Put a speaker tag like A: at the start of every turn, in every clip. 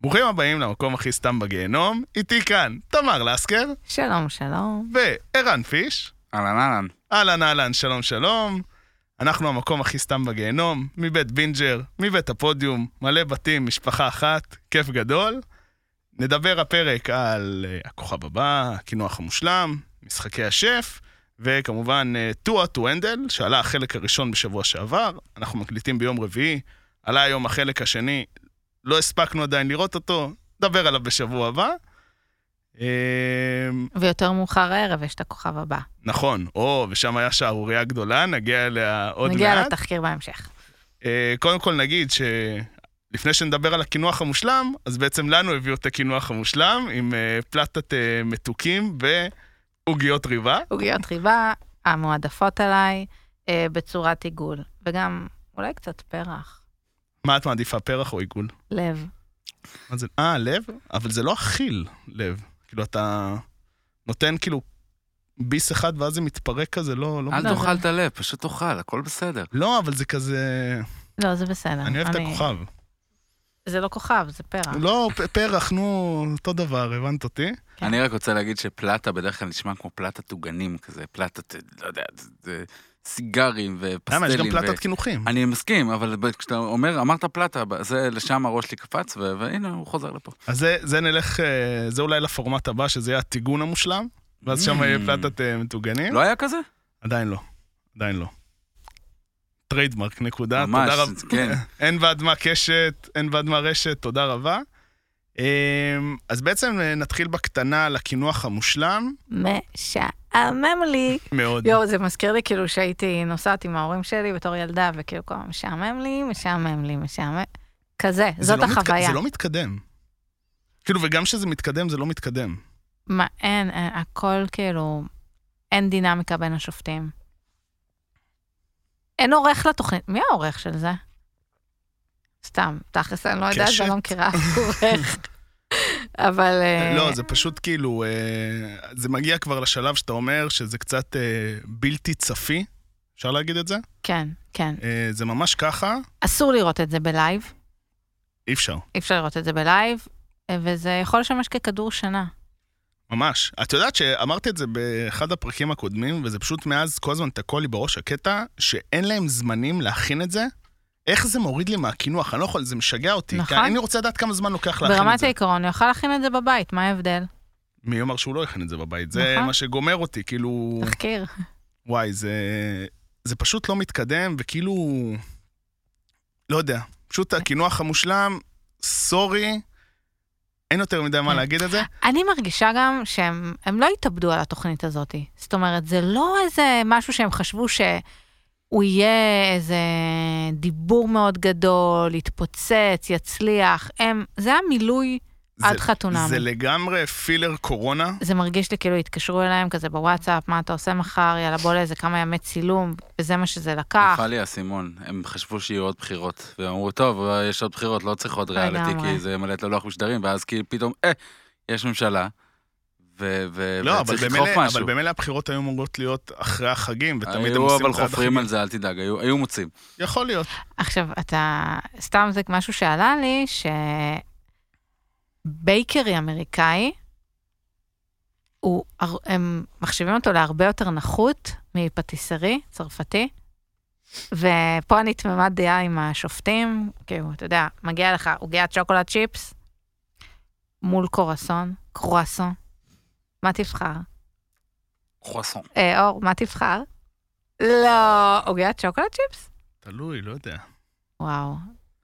A: ברוכים הבאים למקום הכי סתם בגיהנום, איתי כאן תמר לסקר
B: שלום, שלום.
A: וערן פיש.
C: אהלן אהלן.
A: אהלן אהלן, שלום שלום. אנחנו המקום הכי סתם בגיהנום, מבית בינג'ר, מבית הפודיום, מלא בתים, משפחה אחת, כיף גדול. נדבר הפרק על אה, הכוכב הבא, הקינוח המושלם, משחקי השף, וכמובן אה, טועה טואנדל, שעלה החלק הראשון בשבוע שעבר. אנחנו מקליטים ביום רביעי, עלה היום החלק השני, לא הספקנו עדיין לראות אותו, נדבר עליו בשבוע הבא. אה,
B: ויותר מאוחר הערב יש את הכוכב הבא.
A: נכון, או, ושם היה שערורייה גדולה, נגיע אליה עוד
B: נגיע
A: מעט.
B: לתחקיר בהמשך.
A: אה, קודם כל נגיד שלפני שנדבר על הקינוח המושלם, אז בעצם לנו הביאו את הקינוח המושלם עם אה, פלטת אה, מתוקים ועוגיות ריבה.
B: עוגיות ריבה, המועדפות עליי, אה, בצורת עיגול, וגם אולי קצת פרח,
A: מה את מעדיפה, פרח או עיגול?
B: לב.
A: מה זה? אה, לב? אבל זה לא אכיל לב. כאילו, אתה נותן כאילו ביס אחד ואז זה מתפרק כזה, לא... לא
C: אל
A: מבין.
C: תאכל את הלב, פשוט תאכל, הכל בסדר.
A: לא, אבל זה כזה...
B: לא, זה בסדר.
A: אני אוהב את הכוכב.
B: זה לא כוכב, זה פרח.
A: לא, פ- פרח, נו, אותו דבר, הבנת אותי?
B: כן.
C: אני רק רוצה להגיד שפלטה בדרך כלל נשמע כמו פלטת עוגנים כזה, פלטת, לא יודע, זה- זה סיגרים ופסטלים.
A: למה, יש גם פלטת כאילו?
C: ו-
A: קינוחים.
C: אני מסכים, אבל ב- כשאתה אומר, אמרת פלטה, ב- זה לשם הראש לי קפץ, ו- והנה, הוא חוזר לפה.
A: אז זה, זה נלך, אה, זה אולי לפורמט הבא, שזה יהיה הטיגון המושלם, ואז שם יהיה
C: Mm.
A: פלטת אה, מטוגנים.
C: לא היה כזה?
A: עדיין לא, עדיין לא. טריידמרק, נקודה.
C: ממש,
A: תודה רבה.
C: כן.
A: אין ועד מה קשת, אין ועד מה רשת, תודה רבה. אה, אז בעצם אה, נתחיל בקטנה על הקינוח המושלם
B: משעמם לי.
A: מאוד.
B: יואו, זה מזכיר לי כאילו שהייתי נוסעת עם ההורים שלי בתור ילדה, וכאילו כל הזמן משעמם לי, משעמם לי, משעמם... כזה,
A: זה
B: זאת
A: לא מתק-
B: החוויה.
A: זה לא מתקדם. כאילו, וגם כשזה מתקדם, זה לא מתקדם.
B: מה, אין, אין, הכל כאילו, אין דינמיקה בין השופטים. אין עורך לתוכנית, מי העורך של זה? סתם, תכלס, אני לא יודעת,
A: קשת?
B: אני לא מכירה אף עורך. אבל... אה,
A: לא, זה פשוט כאילו, אה, זה מגיע כבר לשלב שאתה אומר שזה קצת אה, בלתי צפי, אפשר להגיד את זה?
B: כן, כן.
A: אה, זה ממש ככה,
B: אסור לראות את זה בלייב,
A: אי אפשר,
B: אי אפשר לראות את זה בלייב, אה, וזה יכול לשמש ככדור שנה.
A: ממש. את יודעת שאמרתי את זה באחד הפרקים הקודמים, וזה פשוט מאז כל הזמן תקוע לי בראש הקטע, שאין להם זמנים להכין את זה. איך זה מוריד לי מהקינוח? אני לא יכול, זה משגע אותי.
B: נכון.
A: כי אני רוצה לדעת כמה זמן לוקח להכין את
B: ברמת
A: זה.
B: העיקרון, הוא יוכל להכין את זה בבית, מה ההבדל?
A: מי יאמר שהוא לא יכין את זה בבית? זה
B: נכון.
A: מה שגומר אותי, כאילו...
B: תחקיר.
A: וואי, זה, זה פשוט לא מתקדם, וכאילו... לא יודע, פשוט הקינוח המושלם, סורי, אין יותר מדי מה
B: כן.
A: להגיד את זה.
B: אני מרגישה גם שהם הם לא התאבדו על התוכנית הזאת. זאת אומרת, זה לא איזה משהו שהם חשבו שהוא יהיה איזה דיבור מאוד גדול, יתפוצץ, יצליח. הם, זה המילוי
A: זה-
B: עד חתונמי.
A: זה
B: זה...
A: לגמרי פילר קורונה.
B: זה מרגיש לי כאילו התקשרו אליהם כזה בוואטסאפ, מה אתה עושה מחר, יאללה בוא לאיזה כמה ימי צילום, וזה מה שזה לקח.
C: נפל לי האסימון, הם חשבו שיהיו עוד בחירות. והם אמרו, טוב, אבל יש עוד בחירות, לא צריך עוד ריאליטי,
B: לגמרי.
C: כי זה מלא את הלוח משדרים, ואז כאילו פתאום, אה, יש ממשלה, ו- ו-
A: לא, אבל
C: וצריך לדחוף
A: במילא- אבל
C: משהו.
A: במילא הבחירות היו אמורות להיות אחרי החגים, ותמיד הם
C: היו
A: עושים
C: אבל
A: את זה עד
C: חופרים
A: החגים.
C: על זה, אל תדאג, היו היו מוצאים.
A: יכול להיות.
B: עכשיו, אתה, סתם זה משהו שעלה לי, שבייקרי אמריקאי, הוא, הר- הם מחשיבים אותו להרבה יותר נחות מפטיסרי צרפתי, ופה אני תמימת דעה עם השופטים, כאילו, אתה יודע, מגיע לך עוגיית שוקולד צ'יפס מול קורסון, קרואסון, מה תבחר?
C: חוסון.
B: אה, אור, מה תבחר? לא, עוגיית שוקולד צ'יפס?
A: תלוי, לא יודע.
B: וואו,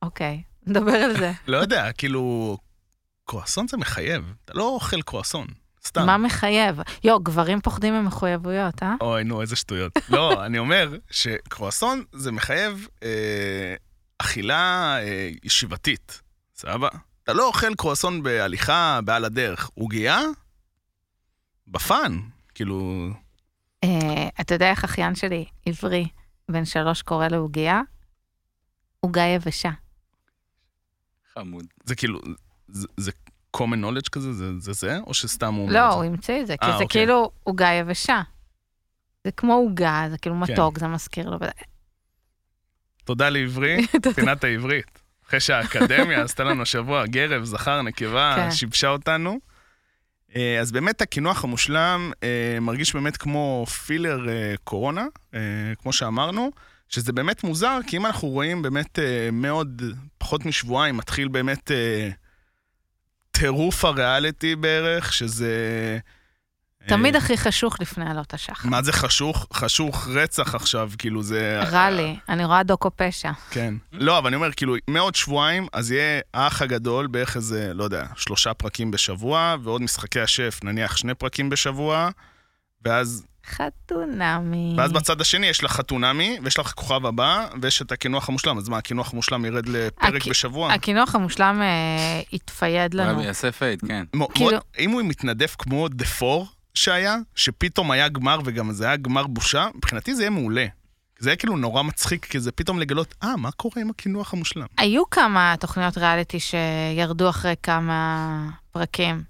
B: אוקיי, נדבר על זה.
A: לא יודע, כאילו, קרואסון זה מחייב. אתה לא אוכל קרואסון, סתם.
B: מה מחייב? יו, גברים פוחדים ממחויבויות, אה?
A: אוי, נו, איזה שטויות. לא, אני אומר שקרואסון זה מחייב אה, אכילה אה, ישיבתית, סבבה? אתה לא אוכל קרואסון בהליכה, בעל הדרך. עוגייה? בפאן. כאילו,
B: אה, אתה יודע איך אחיין שלי, עברי, בן שלוש, קורא לעוגיה? עוגה יבשה.
C: חמוד.
A: זה כאילו, זה, זה common knowledge כזה? זה זה, זה? או שסתם הוא... אומר
B: לא,
A: את זה?
B: הוא המציא את זה, כי
A: אה,
B: זה
A: אוקיי.
B: כאילו עוגה יבשה. זה כמו עוגה, זה כאילו
A: כן.
B: מתוק, זה מזכיר לו. וזה-
A: תודה לעברי, פינת העברית. אחרי שהאקדמיה עשתה לנו השבוע גרב, זכר, נקבה,
B: כן.
A: שיבשה אותנו. אה, אז באמת הקינוח המושלם אה, מרגיש באמת כמו פילר אה, קורונה, אה, כמו שאמרנו, שזה באמת מוזר, כי אם אנחנו רואים באמת אה, מאוד, פחות משבועיים, מתחיל באמת אה, טירוף הריאליטי בערך, שזה... אה,
B: תמיד הכי חשוך לפני עלות השחר.
A: מה זה חשוך? חשוך רצח עכשיו, כאילו זה...
B: רע לי, אני רואה דוקו פשע.
A: כן. לא, אבל אני אומר, כאילו, מעוד שבועיים, אז יהיה האח הגדול בערך איזה, לא יודע, שלושה פרקים בשבוע, ועוד משחקי השף, נניח שני פרקים בשבוע, ואז,
B: Mm. חתונמי.
A: ואז בצד השני יש לך חתונמי, ויש לך כוכב הבא, ויש את הקינוח המושלם. אז מה, הקינוח המושלם ירד לפרק
B: הקי-
A: בשבוע?
B: הקינוח המושלם אה, התפייד לנו.
C: הוא יעשה פייד, כן.
A: מו-
B: כאילו-
A: מו- אם הוא מתנדף כמו דה פור שהיה, שפתאום היה גמר וגם זה היה גמר בושה, מבחינתי זה יהיה מעולה. זה היה כאילו נורא מצחיק, כי זה פתאום לגלות, אה, מה קורה עם הקינוח המושלם?
B: היו כמה תוכניות ריאליטי שירדו אחרי כמה פרקים.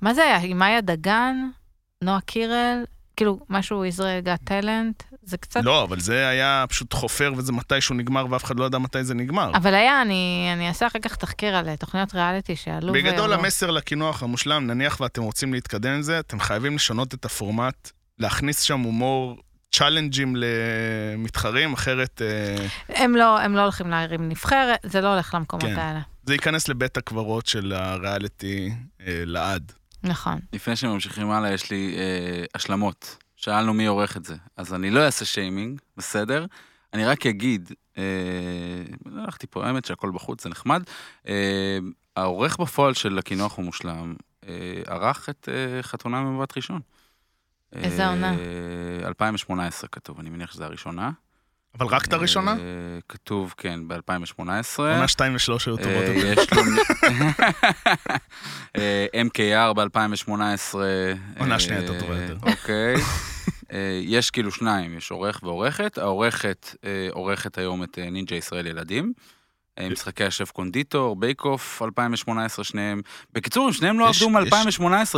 B: מה זה היה? עם מאיה דגן? נועה קירל? כאילו, משהו ישראל גאט טלנט? זה קצת...
A: לא, אבל זה היה פשוט חופר וזה מתישהו נגמר ואף אחד לא ידע מתי זה נגמר.
B: אבל היה, אני, אני אעשה אחר כך תחקיר על אה, תוכניות ריאליטי שעלו
A: בגדול
B: וירדו.
A: המסר לקינוח המושלם, נניח ואתם רוצים להתקדם עם זה, אתם חייבים לשנות את הפורמט, להכניס שם הומור צ'אלנג'ים למתחרים, אחרת אה,
B: הם לא, הם לא הולכים להרים נבחרת, זה לא הולך למקומות
A: כן.
B: האלה.
A: זה ייכנס לבית הקברות של הריאליטי אה, לעד.
B: נכון.
C: לפני שממשיכים הלאה, יש לי אה, השלמות. שאלנו מי עורך את זה. אז אני לא אעשה שיימינג, בסדר? אני רק אגיד, אה, לא הלכתי פה, האמת שהכל בחוץ, זה נחמד. אה, העורך בפועל של הקינוח הוא מושלם, אה, ערך את אה, חתונה ממבט ראשון.
B: איזה
C: אה,
B: עונה?
C: 2018 כתוב, אני מניח שזו הראשונה.
A: אבל רק את הראשונה?
C: אה, כתוב, כן, ב-2018.
A: עונה 2 ו-3 היו טובות. יותר.
C: אה, יש לו... אה, MKR ב-2018.
A: עונה שנייה יותר טובה יותר.
C: אה, אוקיי. אה, יש כאילו שניים, יש עורך ועורכת. העורכת אה, עורכת היום את אה, נינג'ה ישראל ילדים. אה, משחקי השף קונדיטור, בייק אוף 2018, שניהם. בקיצור, הם שניהם לא
A: יש-
C: עבדו
A: יש-
C: מ-2018,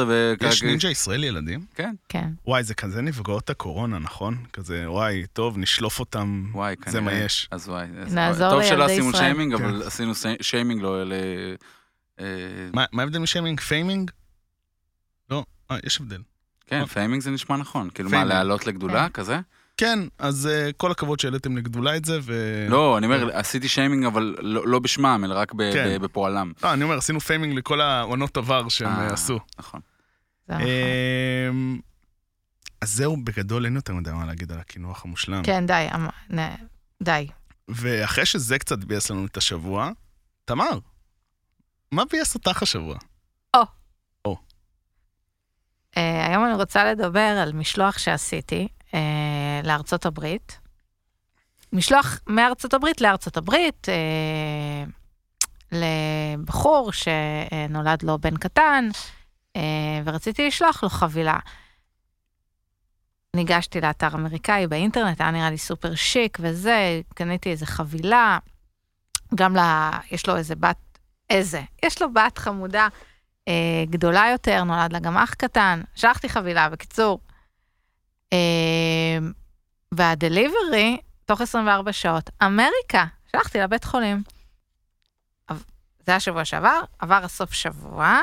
A: יש נינג'ה ישראל ילדים?
B: כן.
A: וואי, זה כזה נפגעות הקורונה, נכון? כזה, וואי, טוב, נשלוף אותם,
C: וואי,
A: זה מה יש.
C: אז וואי. אז-
B: נעזור
C: טוב
B: לילדי
C: שלא עשינו
B: ישראל.
C: שיימינג,
A: כן.
C: אבל עשינו סי- שיימינג לא... ל- אה,
A: מה מה ההבדל משיימינג? פיימינג? לא, אה, יש הבדל.
C: כן, פיימינג זה נשמע נכון. כאילו, מה,
A: פיימינג.
C: לעלות לגדולה כזה?
A: כן, אז אה, כל הכבוד שהעליתם לגדולה את זה, ו...
C: לא, אני אומר, עשיתי שיימינג, אבל לא לא בשמם, אלא רק ב-
A: כן.
C: ב- בפועלם.
A: לא, אני אומר, עשינו פיימינג לכל העונות עבר שהם
C: אה,
A: אה, עשו.
C: נכון.
A: אה,
B: זה נכון.
A: אמ, אז זהו, בגדול אין יותר מדי מה להגיד על הקינוח המושלם.
B: כן, די, אמ- נ- די.
A: ואחרי שזה קצת ביאס לנו את השבוע, תמר, מה ביאס אותך השבוע?
B: אה, היום אני רוצה לדבר על משלוח שעשיתי אה, לארצות הברית. משלוח מארצות הברית לארצות הברית, אה, לבחור שנולד לו בן קטן, אה, ורציתי לשלוח לו חבילה. ניגשתי לאתר אמריקאי באינטרנט, היה נראה לי סופר שיק וזה, קניתי איזה חבילה, גם לה, יש לו איזה בת, איזה, יש לו בת חמודה אה, גדולה יותר, נולד לה גם אח קטן, שלחתי חבילה, בקיצור. אה, והדליברי, תוך 24 שעות, אמריקה, שלחתי לבית חולים. אב- זה היה שבוע שעבר, עבר הסוף שבוע,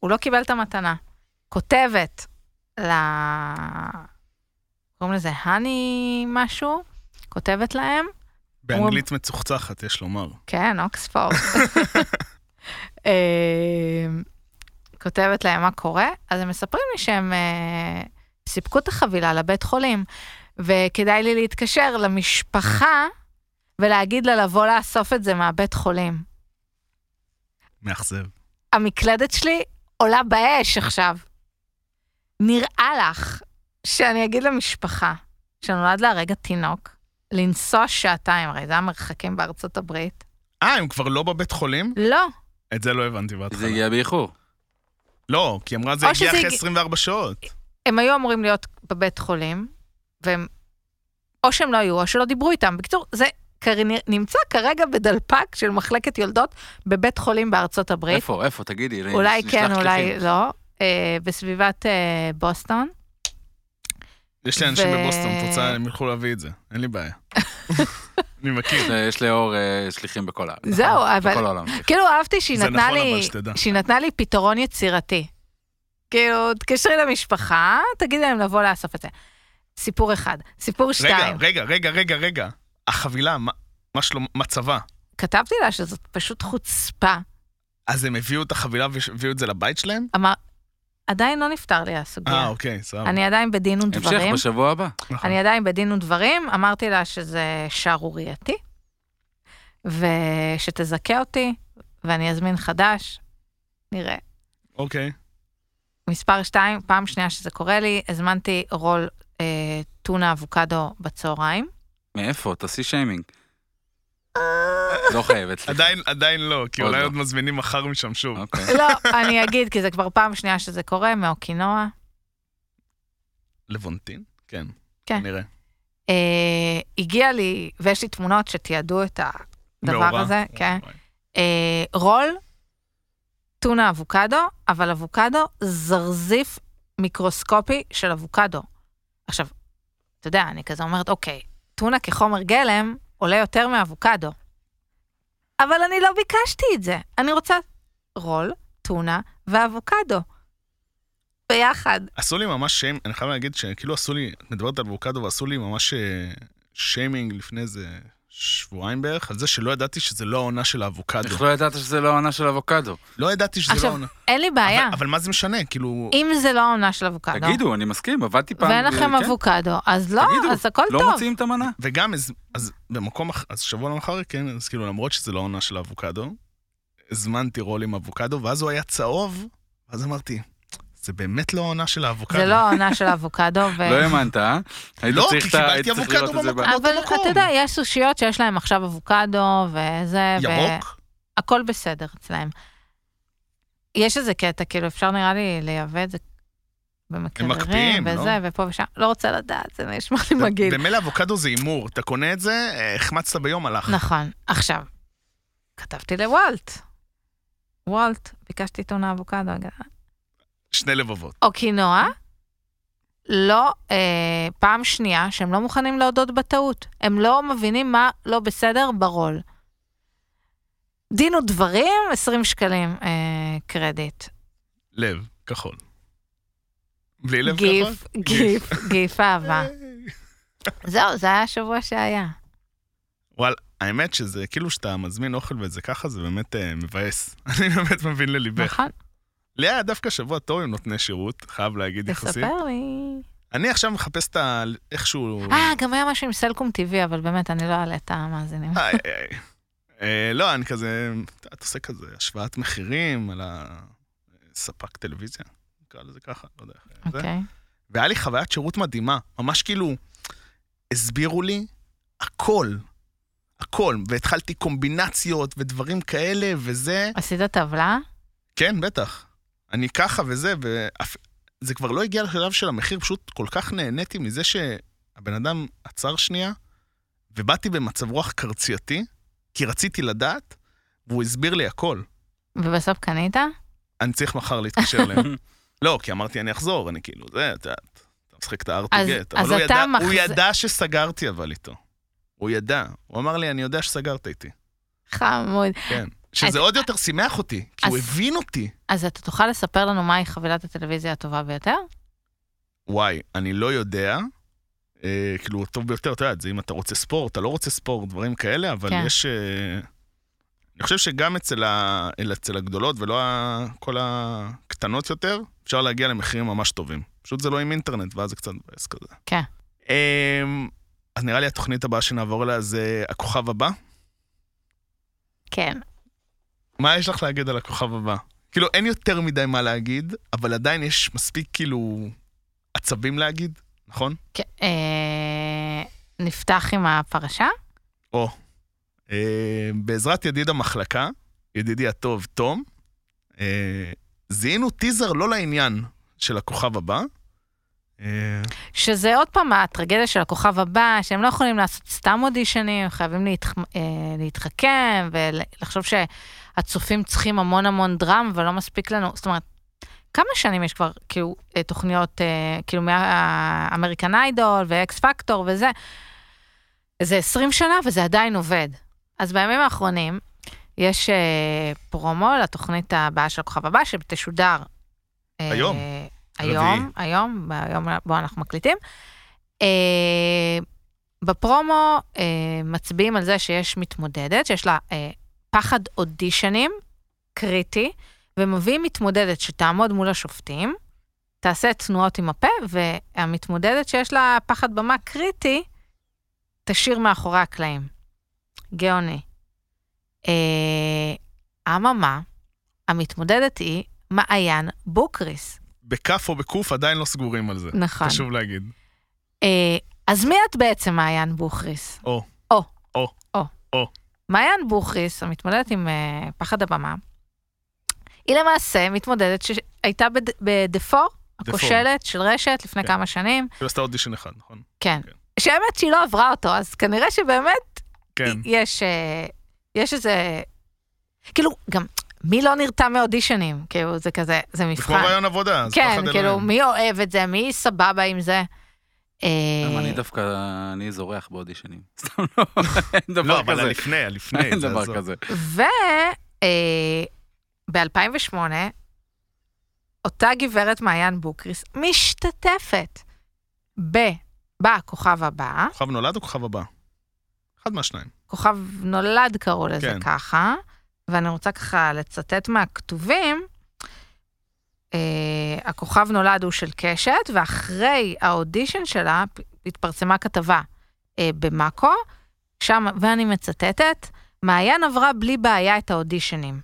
B: הוא לא קיבל את המתנה. כותבת ל... קוראים לזה הני משהו, כותבת להם,
A: באנגלית מצוחצחת, יש לומר.
B: כן, אוקספורד. אמ, כותבת להם מה קורה, אז הם מספרים לי שהם אה, סיפקו את החבילה לבית חולים, וכדאי לי להתקשר למשפחה ולהגיד לה לבוא לאסוף את זה מהבית חולים.
A: מאכזב.
B: המקלדת שלי עולה באש עכשיו. נראה לך שאני אגיד למשפחה שנולד לה רגע תינוק, לנסוע שעתיים, הרי זה המרחקים בארצות הברית?
A: אה, הם כבר לא בבית חולים?
B: לא.
A: את זה לא הבנתי בהתחלה.
C: זה הגיע באיחור.
A: לא, כי אמרה זה
B: או
A: הגיע
B: שזה
A: אחרי
B: הגיע-
A: 24 שעות.
B: הם היו אמורים להיות בבית חולים, והם... או שהם לא היו, או שלא דיברו איתם. בקיצור, זה כר- נמצא כרגע בדלפק של מחלקת יולדות בבית חולים בארצות הברית.
C: איפה, איפה, תגידי. אני
B: אולי
C: נשלח
B: כן, אולי
C: שליחים.
B: לא. אה, בסביבת אה, בוסטון.
A: יש לי אנשים
B: ו-
A: בבוסטון, את רוצה, הם ילכו להביא את זה, אין לי בעיה. אני מכיר.
C: אה, יש לאור אה, שליחים בכל הארץ.
B: זהו, לא. אבל-
C: בכל העולם.
B: כאילו אהבתי שהיא
A: נכון, זה
B: נתנה
A: נכון,
B: לי,
A: אבל שתדע.
B: שהיא נתנה לי פתרון יצירתי. כאילו, תקשרי למשפחה, תגידי להם לבוא לאסוף את זה. סיפור אחד. סיפור
A: רגע,
B: שתיים.
A: רגע, רגע, רגע, רגע. החבילה, מה- מה שלום, מצבה.
B: כתבתי לה שזאת פשוט חוצפה.
A: אז הם הביאו את החבילה והביאו את זה לבית שלהם?
B: אמר, עדיין לא נפתר לי
A: אה,
B: הסוגיה.
A: אוקיי, סבבה.
B: אני עדיין בדין
C: המשך
B: ודברים.
C: בשבוע הבא.
A: נכון.
B: אני עדיין בדין ודברים, אמרתי לה שזה שערורייתי, ושתזכה אותי, ואני אזמין חדש, נראה.
A: אוקיי.
B: מספר 2, פעם שנייה שזה קורה לי, הזמנתי רול אה, טונה אבוקדו בצהריים.
C: מאיפה? תעשי שיימינג. לא חייבת. סליחה.
A: אה. עדיין, עדיין לא, כי
C: עוד
A: אולי
C: לא.
A: עוד מזמינים מחר משם שוב.
C: אוקיי.
B: לא, אני אגיד, כי זה כבר פעם שנייה שזה קורה, מאוקינוע.
A: לבונטין? כן.
B: כן.
A: נראה.
B: אה, הגיע לי, ויש לי תמונות שתיעדו את הדבר
A: מאורע.
B: הזה, כן.
A: וואי.
B: אה, רול, טונה אבוקדו, אבל אבוקדו זרזיף מיקרוסקופי של אבוקדו. עכשיו, אתה יודע, אני כזה אומרת, אוקיי, טונה כחומר גלם עולה יותר מאבוקדו. אבל אני לא ביקשתי את זה. אני רוצה רול, טונה ואבוקדו. ביחד.
A: עשו לי ממש שיימינג, אני חייב להגיד שכאילו עשו לי, את מדברת על אבוקדו ועשו לי ממש אה, שיימינג לפני איזה שבועיים בערך, על זה שלא ידעתי שזה לא העונה של האבוקדו.
C: איך לא ידעת שזה לא העונה של אבוקדו?
B: אה,
A: לא ידעתי שזה לא
B: עכשיו,
A: העונה.
B: אין לי בעיה.
A: אבל- אבל מה זה משנה? כאילו...
B: אם זה לא העונה של אבוקדו,
C: תגידו, אני מסכים, עבדתי פעם.
B: ואין
C: אה,
B: לכם
C: כן.
B: אבוקדו, אז לא,
C: תגידו,
B: אז הכל
C: לא
B: טוב.
C: מוציאים את המנה.
A: וגם, אז, אז במקום, אח- אז שבוע למחר, כן, אז כאילו, למרות שזה לא העונה של האבוקדו, הזמנתי רול עם אבוקדו, ואז הוא היה צהוב, ואז אמרתי, זה באמת לא העונה של האבוקדו.
B: זה לא העונה של אבוקדו, ו...
C: לא האמנת, אה? היית
A: לא,
C: צריך
A: כי
C: את ה-
A: קיבלתי
C: היית צריך
A: אבוקדו
C: לראות את זה ב-
A: במקום. באותו
B: אבל
A: מקום.
B: אתה יודע, יש סושיות שיש להם עכשיו אבוקדו וזה,
A: ירוק?
B: והכל בסדר אצלהם. יש איזה קטע, כאילו, אפשר נראה לי לייבא את זה במקררים,
A: מקפיאים, לא?
B: וזה, ופה ושם, לא רוצה לדעת, זה נשמע לי מגעיל.
A: במילא אבוקדו זה הימור, אתה קונה את זה, אה, החמצת ביום, הלך.
B: נכון. עכשיו, כתבתי לוולט. וולט, ביקשתי טונה אבוקדו, רגע.
A: שני לבבות.
B: אוקינוע, לא, אה, פעם שנייה שהם לא מוכנים להודות בטעות. הם לא מבינים מה לא בסדר ברול. דין ודברים, 20 שקלים אה, קרדיט.
A: לב, כחול. בלי לב כחול?
B: גיף, גיף, גיף אהבה. זהו, זה היה השבוע שהיה.
A: וואל, האמת שזה כאילו שאתה מזמין אוכל וזה ככה, זה באמת אה, מבאס. אני באמת מבין לליבך.
B: נכון?
A: לי היה דווקא שבוע טוב עם נותני שירות, חייב להגיד יחסית.
B: תספר לי.
A: אני עכשיו מחפש את ה... איכשהו...
B: אה, גם היה משהו עם סלקום טבעי, אבל באמת, אני לא אעלה את המאזינים.
A: איי, איי. אה, לא, אני כזה... אתה עושה כזה השוואת מחירים על הספק טלוויזיה, נקרא לזה ככה, לא יודע איך זה.
B: אוקיי.
A: והיה לי חוויית שירות מדהימה, ממש כאילו, הסבירו לי הכל, הכל, והתחלתי קומבינציות ודברים כאלה וזה,
B: עשית טבלה?
A: כן, בטח. אני ככה וזה, ואף... זה כבר לא הגיע לשלב של המחיר, פשוט כל כך נהניתי מזה שהבן אדם עצר שנייה, ובאתי במצב רוח קרצייתי, כי רציתי לדעת, והוא הסביר לי הכל.
B: ובסוף קנית?
A: אני צריך מחר להתקשר אליהם. לא, כי אמרתי, אני אחזור, אני כאילו, זה, אתה, אתה משחק את
B: אז-
A: הארטיגט.
B: אז
A: אבל הוא
B: אתה
A: ידע,
B: מחז-
A: הוא ידע שסגרתי אבל איתו. הוא ידע. הוא אמר לי, אני יודע שסגרת איתי.
B: חמוד.
A: כן. שזה עוד יותר שימח אותי, כי הוא
B: אז-
A: הבין אותי.
B: אז אתה תוכל לספר לנו מהי חבילת הטלוויזיה הטובה ביותר?
A: וואי, אני לא יודע. אה, כאילו, הטוב ביותר, אתה יודע, זה אם אתה רוצה ספורט, אתה לא רוצה ספורט, דברים כאלה, אבל
B: כן.
A: יש... אה, אני חושב שגם אצל, ה, אל- אצל הגדולות ולא ה, כל הקטנות יותר, אפשר להגיע למחירים ממש טובים. פשוט זה לא עם אינטרנט, ואז זה קצת מבאס כזה.
B: כן.
A: אה, אז נראה לי התוכנית הבאה שנעבור אליה זה הכוכב הבא.
B: כן.
A: מה יש לך להגיד על הכוכב הבא? כאילו, אין יותר מדי מה להגיד, אבל עדיין יש מספיק כאילו עצבים להגיד, נכון?
B: כן. אה, נפתח עם הפרשה?
A: או, אה, בעזרת ידיד המחלקה, ידידי הטוב תום, אה, זיהינו טיזר לא לעניין של הכוכב הבא, אה,
B: שזה עוד פעם הטרגדיה של הכוכב הבא, שהם לא יכולים לעשות סתם אודישנים, הם חייבים להתח... אה, להתחכם ולחשוב שהצופים צריכים המון המון דרם, ולא מספיק לנו, זאת אומרת, כמה שנים יש כבר, כאילו, אה, תוכניות, אה, כאילו, מאמריקן איידול ואקס פקטור וזה, זה 20 שנה וזה עדיין עובד. אז בימים האחרונים יש אה, פרומו לתוכנית הבאה של הכוכב הבא, שתשודר. אה,
A: היום. רביעי.
B: היום, היום, ביום בו אנחנו מקליטים. אה, בפרומו אה, מצביעים על זה שיש מתמודדת, שיש לה אה, פחד אודישנים קריטי, ומביאים מתמודדת שתעמוד מול השופטים, תעשה תנועות עם הפה, והמתמודדת שיש לה פחד במה קריטי, תשאיר מאחורי הקלעים. גאוני. אה, אממה, המתמודדת היא מעיין בוקריס.
A: בכף או בקוף עדיין לא סגורים על זה.
B: נכון.
A: חשוב להגיד.
B: אה, אז מי את בעצם, מעיין בוכריס?
A: או.
B: או.
A: או.
B: או.
A: או.
B: מעיין בוכריס, המתמודדת עם אה, פחד הבמה, היא למעשה מתמודדת שהייתה בד-
A: דפור.
B: בדפור, הכושלת של רשת לפני
A: כן.
B: כמה שנים.
A: היא עשתה אודישן אחד, נכון?
B: כן.
A: כן.
B: שהאמת שהיא לא עברה אותו, אז כנראה שבאמת
A: כן.
B: יש, אה, יש איזה... כאילו, גם מי לא נרתע מאודישנים? כאילו, זה כזה, זה
A: זה כמו
B: מבחן.
A: רעיון עבודה, אז פחד
B: כן, כאילו,
A: אלוהים.
B: מי אוהב את זה? מי סבבה עם זה? אה,
C: למה, אני דווקא, אני זורח באודישנים. סתם לא, אין דבר כזה.
A: לא, אבל הלפני, הלפני.
C: אין
A: זה
C: דבר
A: עזוב.
C: כזה.
B: וב-2008, אותה גברת מעיין בוקריס משתתפת ב... בכוכב הבא,
A: כוכב נולד או כוכב הבא? אחד מהשניים.
B: כוכב נולד קראו לזה
A: כן.
B: ככה, ואני רוצה ככה לצטט מהכתובים. אה, הכוכב נולד הוא של קשת, ואחרי האודישן שלה פ- התפרסמה כתבה אה, במאקו, שם, ואני מצטטת, מעיין עברה בלי בעיה את האודישנים.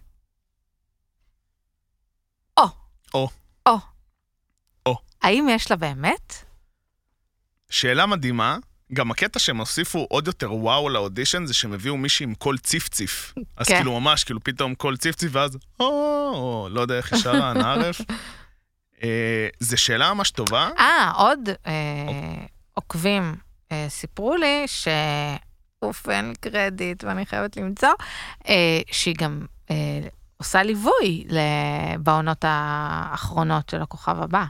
B: או.
A: או.
B: או.
A: או.
B: האם יש לה באמת?
A: שאלה מדהימה, גם הקטע שהם הוסיפו עוד יותר וואו לאודישן זה שהם הביאו מישהי עם קול ציפציף. אז
B: כן.
A: כאילו ממש, כאילו פתאום קול ציפציף, ואז או, או, לא יודע איך היא שרה, נערף. אה, זו שאלה ממש טובה.
B: אה, עוד אה, עוקבים אה, סיפרו לי ש... אוף, אין לי קרדיט ואני חייבת למצוא, אה, שהיא גם אה, עושה ליווי ל- בעונות האחרונות של הכוכב הבא.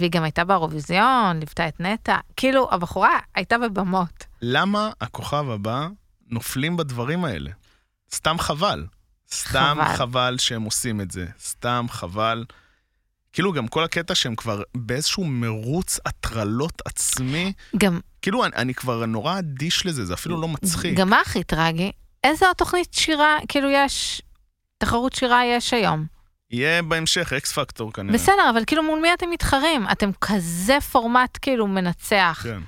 B: והיא גם הייתה באירוויזיון, ליוותה את נטע. כאילו, הבחורה הייתה בבמות.
A: למה הכוכב הבא נופלים בדברים האלה? סתם חבל. סתם
B: חבל.
A: חבל. חבל שהם עושים את זה. סתם חבל. כאילו גם כל הקטע שהם כבר באיזשהו מרוץ הטרלות עצמי,
B: גם,
A: כאילו אני, אני כבר נורא אדיש לזה, זה אפילו לא מצחיק.
B: גם מה הכי טרגי? איזה עוד תוכנית שירה, כאילו יש, תחרות שירה יש היום.
A: יהיה בהמשך אקס פקטור כנראה.
B: בסדר, אבל כאילו מול מי אתם מתחרים? אתם כזה פורמט כאילו מנצח.
A: כן.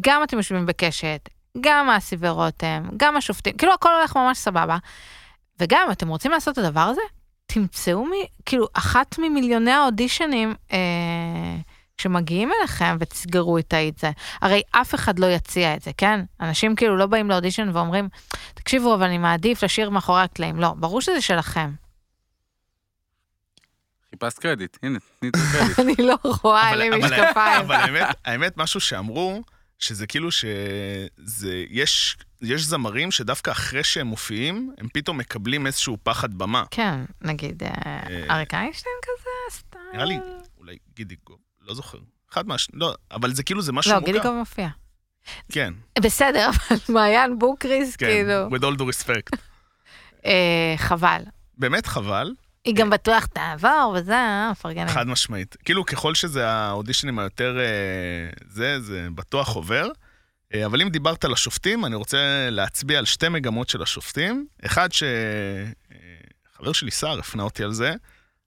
B: גם אתם יושבים בקשת, גם אסי ורותם, גם השופטים, כאילו הכל הולך ממש סבבה. וגם, אתם רוצים לעשות את הדבר הזה? תמצאו מ... כאילו, אחת ממיליוני האודישנים אה, שמגיעים אליכם ותסגרו איתה את זה. הרי אף אחד לא יציע את זה, כן? אנשים כאילו לא באים לאודישן ואומרים, תקשיבו, אבל אני מעדיף לשיר מאחורי הקלעים. לא, ברור שזה שלכם.
C: חיפשת קרדיט, הנה, תני את הקרדיט.
B: אני לא רואה, אין
A: אבל-
B: לי
A: אבל-
B: משקפיים.
A: אבל האמת, האמת, משהו שאמרו, שזה כאילו שזה, יש, יש זמרים שדווקא אחרי שהם מופיעים, הם פתאום מקבלים איזשהו פחד במה.
B: כן, נגיד אה,
A: אה,
B: אריק איינשטיין כזה, סטייל. לא,
A: נראה לי, אולי גידיגוב, לא זוכר. אחד מה... לא, אבל זה כאילו, זה משהו
B: לא,
A: מוכר.
B: גיליגוב מופיע.
A: כן,
B: בסדר, אבל מעיין בוקריס,
A: כן,
B: כאילו.
A: with all due respect.
B: אה, חבל.
A: באמת חבל,
B: היא גם בטוח תעבור וזה, אה, מפרגנת.
A: חד משמעית. כאילו, ככל שזה האודישנים היותר... אה, זה, זה בטוח עובר. אה, אבל אם דיברת על השופטים, אני רוצה להצביע על שתי מגמות של השופטים. אחד ש... אה, חבר שלי סער הפנה אותי על זה,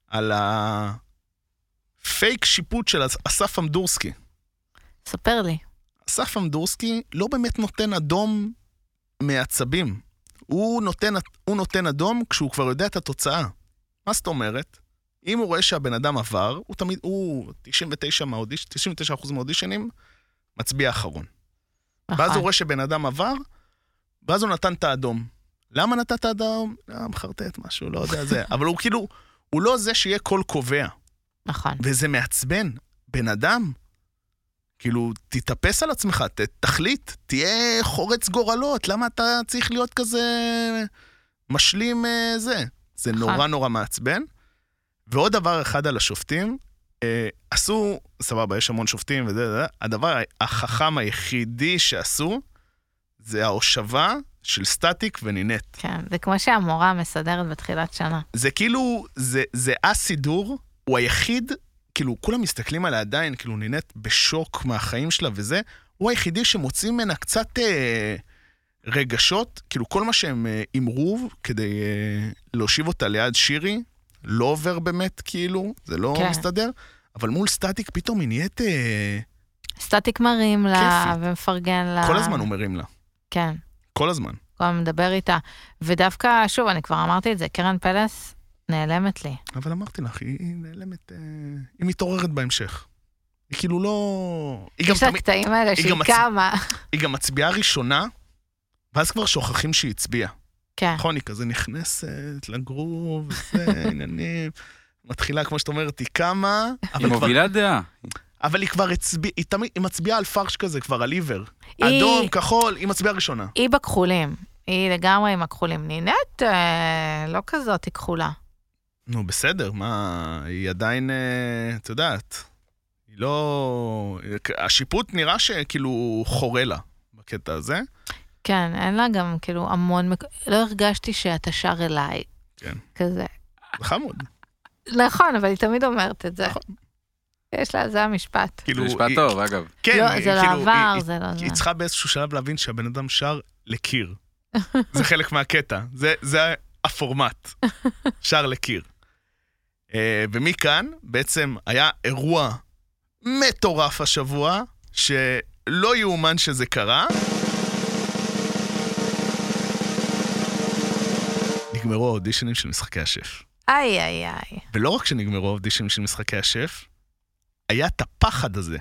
A: על הפייק שיפוט של אסף אמדורסקי.
B: ספר לי.
A: אסף אמדורסקי לא באמת נותן אדום מעצבים. הוא נותן, הוא נותן אדום כשהוא כבר יודע את התוצאה. מה זאת אומרת? אם הוא רואה שהבן אדם עבר, הוא תמיד, הוא 99 מהאודיש, 99% מהאודישנים, מצביע אחרון. ואז הוא
B: נכון.
A: רואה שבן אדם עבר, ואז הוא נתן את האדום. למה נתת אדום? אה, מחרטט משהו, לא יודע זה. אבל הוא כאילו, הוא לא זה שיהיה קול קובע.
B: נכון.
A: וזה מעצבן. בן אדם כאילו, תתאפס על עצמך, ת, תחליט, תהיה חורץ גורלות, למה אתה צריך להיות כזה משלים אה, זה? זה
B: נכון.
A: נורא נורא מעצבן. ועוד דבר אחד על השופטים, אה, עשו, סבבה, יש המון שופטים וזה, זה, זה, הדבר החכם היחידי שעשו, זה ההושבה של סטטיק ונינט.
B: כן, זה כמו שהמורה מסדרת בתחילת שנה.
A: זה כאילו, זה, זה הסידור, הוא היחיד, כאילו, כולם מסתכלים עליה עדיין, כאילו, נינט בשוק מהחיים שלה וזה, הוא היחידי שמוציא ממנה קצת אה, רגשות, כאילו, כל מה שהם אה, הימרו כדי אה, להושיב אותה ליד שירי, לא עובר באמת, כאילו, זה לא
B: כן.
A: כן. מסתדר, אבל מול סטטיק פתאום היא נהיית, אה,
B: סטטיק מרים לה,
A: כיפית.
B: ומפרגן לה.
A: כל הזמן הוא מרים לה,
B: כן,
A: כל הזמן.
B: כל הזמן מדבר איתה. ודווקא, שוב, אני כבר אמרתי את זה, קרן פלס נעלמת לי.
A: אבל אמרתי לך, היא היא נעלמת, אה, היא מתעוררת בהמשך. היא כאילו לא... היא גם
B: יש לה
A: תמיד...
B: הקטעים האלה
A: היא
B: שהיא
A: גם מצ-
B: קמה.
A: היא גם מצביעה ראשונה, ואז כבר שוכחים שהיא הצביעה.
C: אה.
B: כן,
A: נכון, היא כזה נכנסת לגרוב, זה, עניינים. מתחילה, כמו שאת אומרת, היא קמה,
C: היא
A: אבל, כבר, כאילו,
C: מובילה דעה.
A: אבל היא כבר הצביעה, היא, תמיד- היא מצביעה על פרש כזה, כבר על עיוור.
B: היא-
A: אדום, כחול, היא מצביעה ראשונה.
B: היא בכחולים. היא לגמרי עם הכחולים. נינט, אה, לא כזאת, היא כחולה.
A: נו, בסדר, מה, היא עדיין, אה, את יודעת, היא לא... השיפוט נראה שכאילו חורה לה בקטע הזה.
B: כן, אין לה גם כאילו המון... מק- לא הרגשתי שאתה שר אליי.
A: כן.
B: כזה.
A: זה חמוד.
B: נכון, אבל היא תמיד אומרת את זה.
A: נכון.
B: יש לה, זה המשפט.
A: כאילו,
C: זה משפט
A: היא-
C: טוב, אגב.
A: כן,
B: לא,
A: היא-
B: זה
A: כאילו, היא-
B: לעבר,
A: היא-
B: זה לא זה.
A: היא צריכה באיזשהו שלב להבין שהבן אדם שר לקיר. זה חלק מהקטע, זה, זה הפורמט, שר לקיר. Uh, ומכאן בעצם היה אירוע מטורף השבוע, שלא יאומן שזה קרה. נגמרו האודישנים של משחקי השף.
B: איי, איי, איי.
A: ולא רק שנגמרו האודישנים של משחקי השף, היה את הפחד הזה.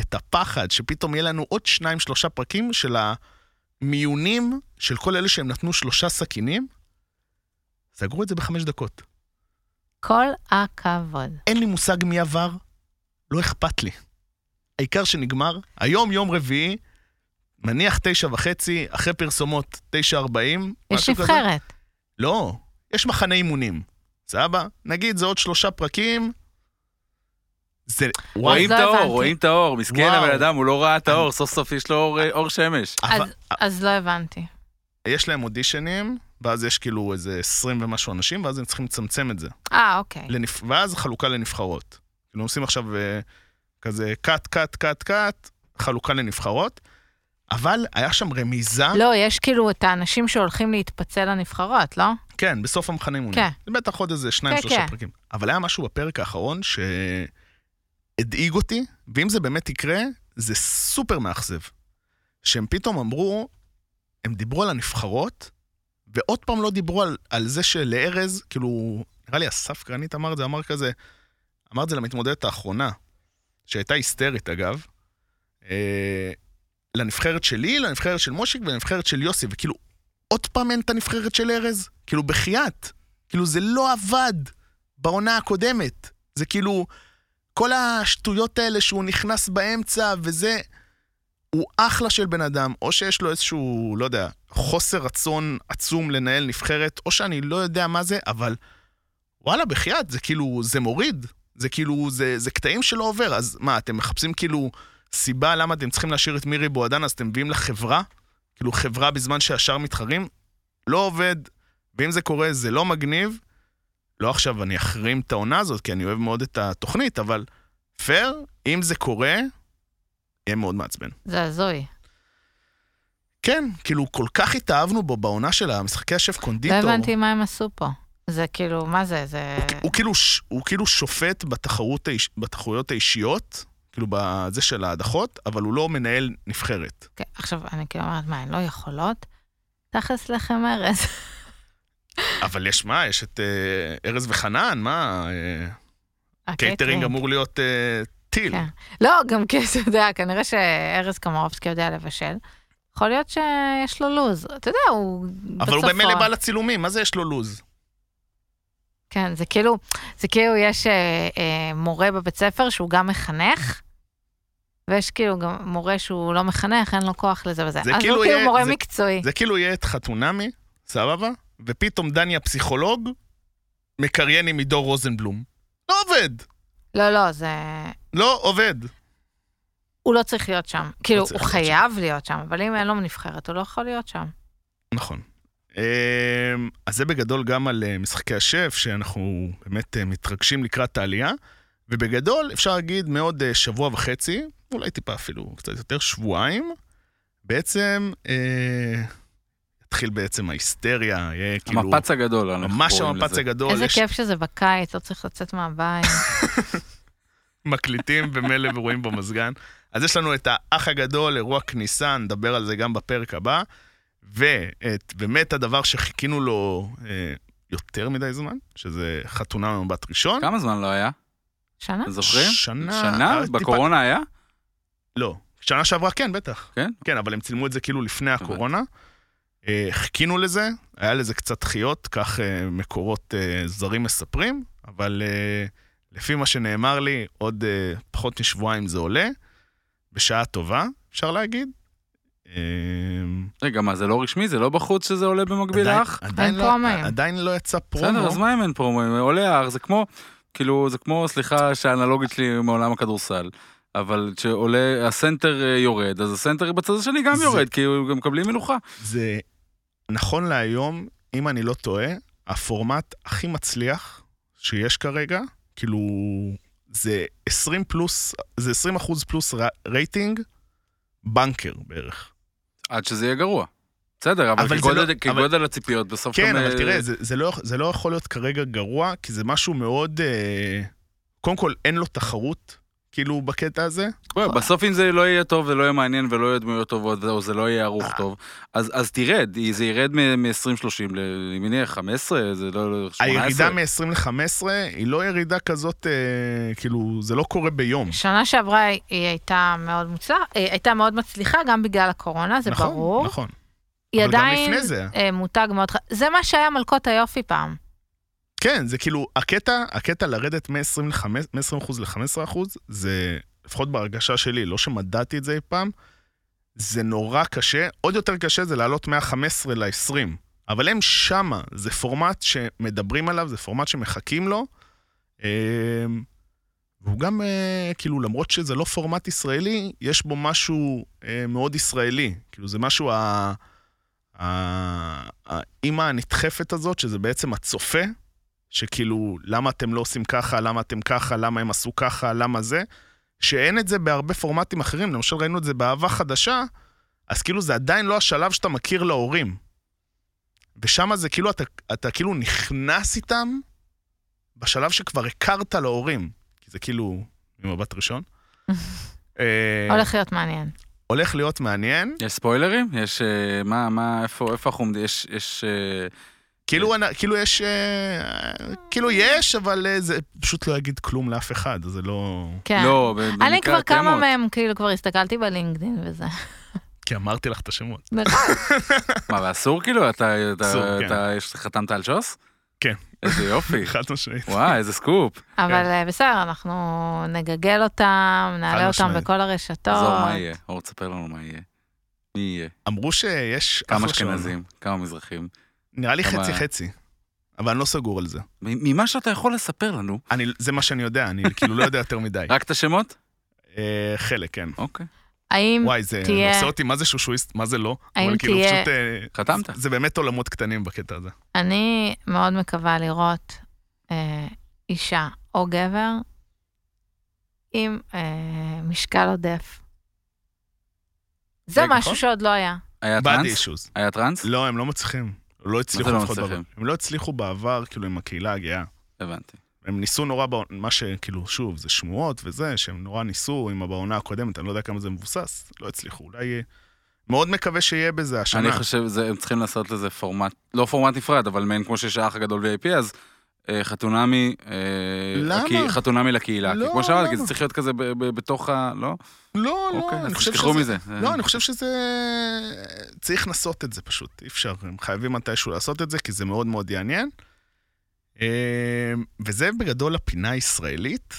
A: את הפחד שפתאום יהיה לנו עוד שניים, שלושה פרקים של המיונים של כל אלה שהם נתנו שלושה סכינים. סגרו את זה בחמש דקות.
B: כל הכבוד.
A: אין לי מושג מי עבר, לא אכפת לי. העיקר שנגמר, היום יום רביעי, נניח תשע וחצי, אחרי פרסומות תשע ארבעים.
B: יש
A: משהו כזה.
B: נבחרת.
A: לא, יש מחנה אימונים. סבא, נגיד זה עוד שלושה פרקים. זה, וואי,
C: רואים
B: לא
C: את האור,
B: הבנתי.
C: רואים את האור. מסכן
A: וואו.
C: הבן אדם, הוא לא ראה את האור, סוף סוף יש לו אור- אה, אור שמש.
A: אבל
B: אז- אז לא הבנתי.
A: יש להם אודישנים, ואז יש כאילו איזה 20 ומשהו אנשים, ואז הם צריכים לצמצם את זה.
B: אה, אוקיי.
A: לנפ... ואז חלוקה לנבחרות. כאילו עושים עכשיו אה, כזה קאט, קאט, קאט, קאט, חלוקה לנבחרות, אבל היה שם רמיזה,
B: לא, יש כאילו את האנשים שהולכים להתפצל לנבחרות, לא?
A: כן, בסוף המחנה אימונים.
B: כן.
A: זה בטח עוד איזה שניים,
B: כן,
A: שלושה
B: כן.
A: פרקים. אבל היה משהו בפרק האחרון שהדאיג אותי, ואם זה באמת יקרה, זה סופר מאכזב. שהם פתאום אמרו, הם דיברו על הנבחרות, ועוד פעם לא דיברו על, על זה שלארז, כאילו, נראה לי אסף גרנית אמר את זה, אמר כזה, אמר את זה למתמודדת האחרונה, שהייתה היסטרית אגב, אה, לנבחרת שלי, לנבחרת של מושיק ולנבחרת של יוסי, וכאילו, עוד פעם אין את הנבחרת של ארז? כאילו, בחייאת. כאילו, זה לא עבד בעונה הקודמת. זה כאילו, כל השטויות האלה שהוא נכנס באמצע וזה, הוא אחלה של בן אדם, או שיש לו איזשהו, לא יודע, חוסר רצון עצום לנהל נבחרת, או שאני לא יודע מה זה, אבל וואלה, בחייאת, זה כאילו, זה מוריד. זה כאילו, זה, זה קטעים שלא עובר. אז מה, אתם מחפשים כאילו סיבה למה אתם צריכים להשאיר את מירי בועדן, אז אתם מביאים לחברה? כאילו חברה בזמן שהשאר מתחרים, לא עובד, ואם זה קורה זה לא מגניב. לא עכשיו אני אחרים את העונה הזאת, כי אני אוהב מאוד את התוכנית, אבל פייר, אם זה קורה, יהיה מאוד מעצבן.
B: זה הזוי. לא
A: כן, כאילו כל כך התאהבנו בו בעונה של המשחקי השף
B: לא
A: קונדיטור.
B: הבנתי מה הם עשו פה. זה כאילו, מה זה? זה...
A: הוא, הוא, כאילו, ש- הוא כאילו שופט בתחרות, האיש- בתחרויות האישיות, כאילו בזה של ההדחות, אבל הוא לא מנהל נבחרת.
B: כן, עכשיו, אני כאילו אומרת, מה, הן לא יכולות? תכלס לחם ארז.
A: אבל יש מה, יש את אה, ארז וחנן, מה, אה, קייטרינג אמור להיות אה, טיל.
B: כן. לא, גם כי אתה יודע, כנראה שארז קומרובסקי יודע לבשל. יכול להיות שיש לו לוז. אתה יודע, הוא בצפון.
A: אבל הוא במילא בא לצילומים, מה זה יש לו לוז?
B: כן, זה כאילו, זה כאילו יש אה, אה, מורה בבית ספר שהוא גם מחנך, ויש כאילו גם מורה שהוא לא מחנך, אין לו כוח לזה וזה.
A: זה
B: אז
A: כאילו
B: הוא כאילו
A: יהיה-
B: מורה
A: זה-
B: מקצועי.
A: זה כאילו יהיה את חתונמי, סבבה? ופתאום דני הפסיכולוג מקריין עם עידו רוזנבלום. לא עובד.
B: לא, לא, זה...
A: לא עובד.
B: הוא לא צריך להיות שם. כאילו,
A: צריך
B: הוא
A: להיות שם.
B: חייב להיות שם, אבל אם אין לו נבחרת, הוא לא יכול להיות שם.
A: נכון. אמ, אז זה בגדול גם על אה, משחקי השף, שאנחנו באמת אה, מתרגשים לקראת העלייה. ובגדול, אפשר להגיד מעוד אה, שבוע וחצי, אולי טיפה אפילו קצת יותר, שבועיים, בעצם אה, יתחיל בעצם ההיסטריה, יהיה כאילו...
C: המפץ הגדול, אנחנו
A: ממש
C: קוראים
A: המפץ
C: לזה.
A: הגדול.
B: איזה
A: לא, יש
B: כיף שזה בקיץ, לא צריך לצאת מהבית.
A: מקליטים במילא ורואים במזגן. אז יש לנו את האח הגדול, אירוע כניסה, נדבר על זה גם בפרק הבא. ואת באמת הדבר שחיכינו לו אה, יותר מדי זמן, שזה חתונה ממבט ראשון.
C: כמה זמן לא היה?
B: שנה?
C: אתם זוכרים?
A: אה? שנה,
C: שנה?
A: אה, טיפה-
C: בקורונה היה?
A: לא, שנה שעברה כן, בטח.
C: כן?
A: כן, אבל הם צילמו את זה כאילו לפני
C: הבנתי.
A: הקורונה. אה, חיכינו לזה, היה לזה קצת דחיות, כך אה, מקורות אה, זרים מספרים, אבל אה, לפי מה שנאמר לי, עוד אה, פחות משבועיים זה עולה, בשעה טובה, אפשר להגיד. אה,
C: רגע, מה, זה לא רשמי? זה לא בחוץ שזה עולה במקביל
A: עדיין-
C: לאח?
A: עדיין
B: אין
A: לא-
B: פרומואים.
A: עדיין לא יצא
C: בסדר,
A: פרומו.
C: אז מה אם אין פרומו? אם עולה האח, זה כמו, כאילו, זה כמו, סליחה, שהאנלוגית שלי מעולם הכדורסל. אבל כשעולה, הסנטר אה, יורד, אז הסנטר בצד השני גם
A: זה-
C: יורד, כי הוא גם מקבלים מלוכה.
A: זה נכון להיום, אם אני לא טועה, הפורמט הכי מצליח שיש כרגע, כאילו, זה 20 פלוס, זה 20 אחוז פלוס ר- רייטינג, בנקר בערך.
C: עד שזה יהיה גרוע. בסדר,
A: אבל
C: אבל
A: זה
C: כגודל-
A: לא-
C: כגודל הציפיות, בסוף
A: כן,
C: גם,
A: אבל
C: אה,
A: תראה, זה, זה, לא, זה לא יכול להיות כרגע גרוע, כי זה משהו מאוד... אה, קודם כל, אין לו תחרות, כאילו, בקטע הזה.
C: בוא, בסוף אם זה לא יהיה טוב ולא יהיה מעניין ולא יהיה דמויות טובות או זה לא יהיה ערוך
A: אה.
C: טוב, אז אז תרד, זה ירד מ-20-30 ל... אני מניח 15, זה לא... לא- 18.
A: הירידה מ-20 ל-15 היא לא ירידה כזאת, אה, כאילו, זה לא קורה ביום.
B: שנה שעברה היא הייתה מאוד מוצלח, אה, הייתה מאוד מצליחה גם בגלל הקורונה, זה
A: נכון,
B: ברור.
A: נכון.
B: היא
A: אבל גם
B: עדיין
A: לפני זה.
B: אה, מותג מאוד חשוב. זה מה שהיה מלכות היופי פעם.
A: כן, זה כאילו, הקטע, הקטע לרדת מ-20% ל-15% זה, לפחות בהרגשה שלי, לא שמדדתי את זה אי פעם, זה נורא קשה, עוד יותר קשה זה לעלות מה-15 ל-20, אבל הם שמה, זה פורמט שמדברים עליו, זה פורמט שמחכים לו, אמ, והוא גם, אה, כאילו, למרות שזה לא פורמט ישראלי, יש בו משהו אה, מאוד ישראלי, כאילו, זה משהו ה... ה- האימא הנדחפת הזאת, שזה בעצם הצופה, שכאילו, למה אתם לא עושים ככה, למה אתם ככה, למה הם עשו ככה, למה זה, שאין את זה בהרבה פורמטים אחרים, למשל ראינו את זה באהבה חדשה, אז כאילו זה עדיין לא השלב שאתה מכיר להורים. ושם זה כאילו, אתה, אתה כאילו נכנס איתם בשלב שכבר הכרת להורים, כי זה כאילו ממבט ראשון. אה,
B: הולך להיות מעניין.
A: הולך להיות מעניין,
C: יש ספוילרים? יש... אה, מה, מה, איפה, איפה אנחנו עומדים? יש... יש... אה,
A: כאילו, אנ- כאילו יש, אה, כאילו יש, אבל אה, זה פשוט לא יגיד כלום לאף אחד, אז זה לא...
B: כן.
C: לא, ב-
B: אני
C: במקרה
B: כבר כמה
C: התאמות.
B: מהם, כאילו, כבר הסתכלתי בלינקדאין וזה.
A: כי אמרתי לך את השמות.
B: נכון.
C: מה, ואסור כאילו? אתה... אתה-
A: אסור, כן.
C: אתה... יש- חתמת על שוס?
A: כן.
C: איזה יופי.
A: חד משמעית.
C: וואי, איזה סקופ.
A: כן.
B: אבל אה, בסדר, אנחנו נגגל אותם, נעלה אותם
A: משמעית.
B: בכל הרשתות.
C: עזור, מה יהיה? אור, תספר לנו מה יהיה. מי יהיה?
A: אמרו שיש...
C: כמה
A: אחלה שעון.
C: אשכנזים? כמה מזרחים?
A: נראה לי
C: כמה-
A: חצי חצי, אבל אני לא סגור על זה.
C: מ- ממה שאתה יכול לספר לנו,
A: אני, זה מה שאני יודע, אני כאילו לא יודע יותר מדי.
C: רק את השמות?
A: אה, חלק, כן.
C: אוקיי.
B: האם
A: וואי, זה
B: תהיה-
A: עושה אותי מה זה שושואיסט, מה זה לא.
B: האם
A: אבל כאילו
B: תהיה-
A: פשוט... אה,
C: חתמת.
A: זה באמת עולמות קטנים בקטע הזה.
B: אני מאוד מקווה לראות אה, אישה או גבר עם אה, משקל עודף. זה
A: רגע,
B: משהו
A: נכון?
B: שעוד לא היה.
C: היה
A: body
C: טראנס?
A: issues.
C: היה טראנס?
A: לא, הם לא מצליחים. לא הצליחו
C: לא
A: לפחות בעבר.
C: מצליחים?
A: הם לא הצליחו בעבר, כאילו, עם הקהילה הגאה.
C: הבנתי.
A: הם ניסו נורא, בעונ- מה שכאילו, שוב, זה שמועות וזה, שהם נורא ניסו עם בעונה הקודמת, אני לא יודע כמה זה מבוסס, לא הצליחו, אולי... אה, מאוד מקווה שיהיה בזה השנה.
C: אני חושב, זה- הם צריכים לעשות לזה פורמט, לא פורמט נפרד, אבל מעין כמו שיש האח הגדול VIP, אז אה, חתונמי... אה,
A: למה?
C: הקה- חתונמי לקהילה. כי
A: לא,
C: כמו שאמרתי,
A: למה?
C: כי זה צריך להיות כזה ב- ב- בתוך ה... לא?
A: לא,
C: אוקיי,
A: לא,
C: אז
A: אני חושב
C: תשכחו
A: שזה...
C: מזה.
A: לא, אני חושב שזה... צריך לנסות את זה פשוט, אי אפשר, הם חייבים מתישהו לעשות את זה, כי זה מאוד מאוד אה, יעניין. אמ, וזה בגדול הפינה הישראלית.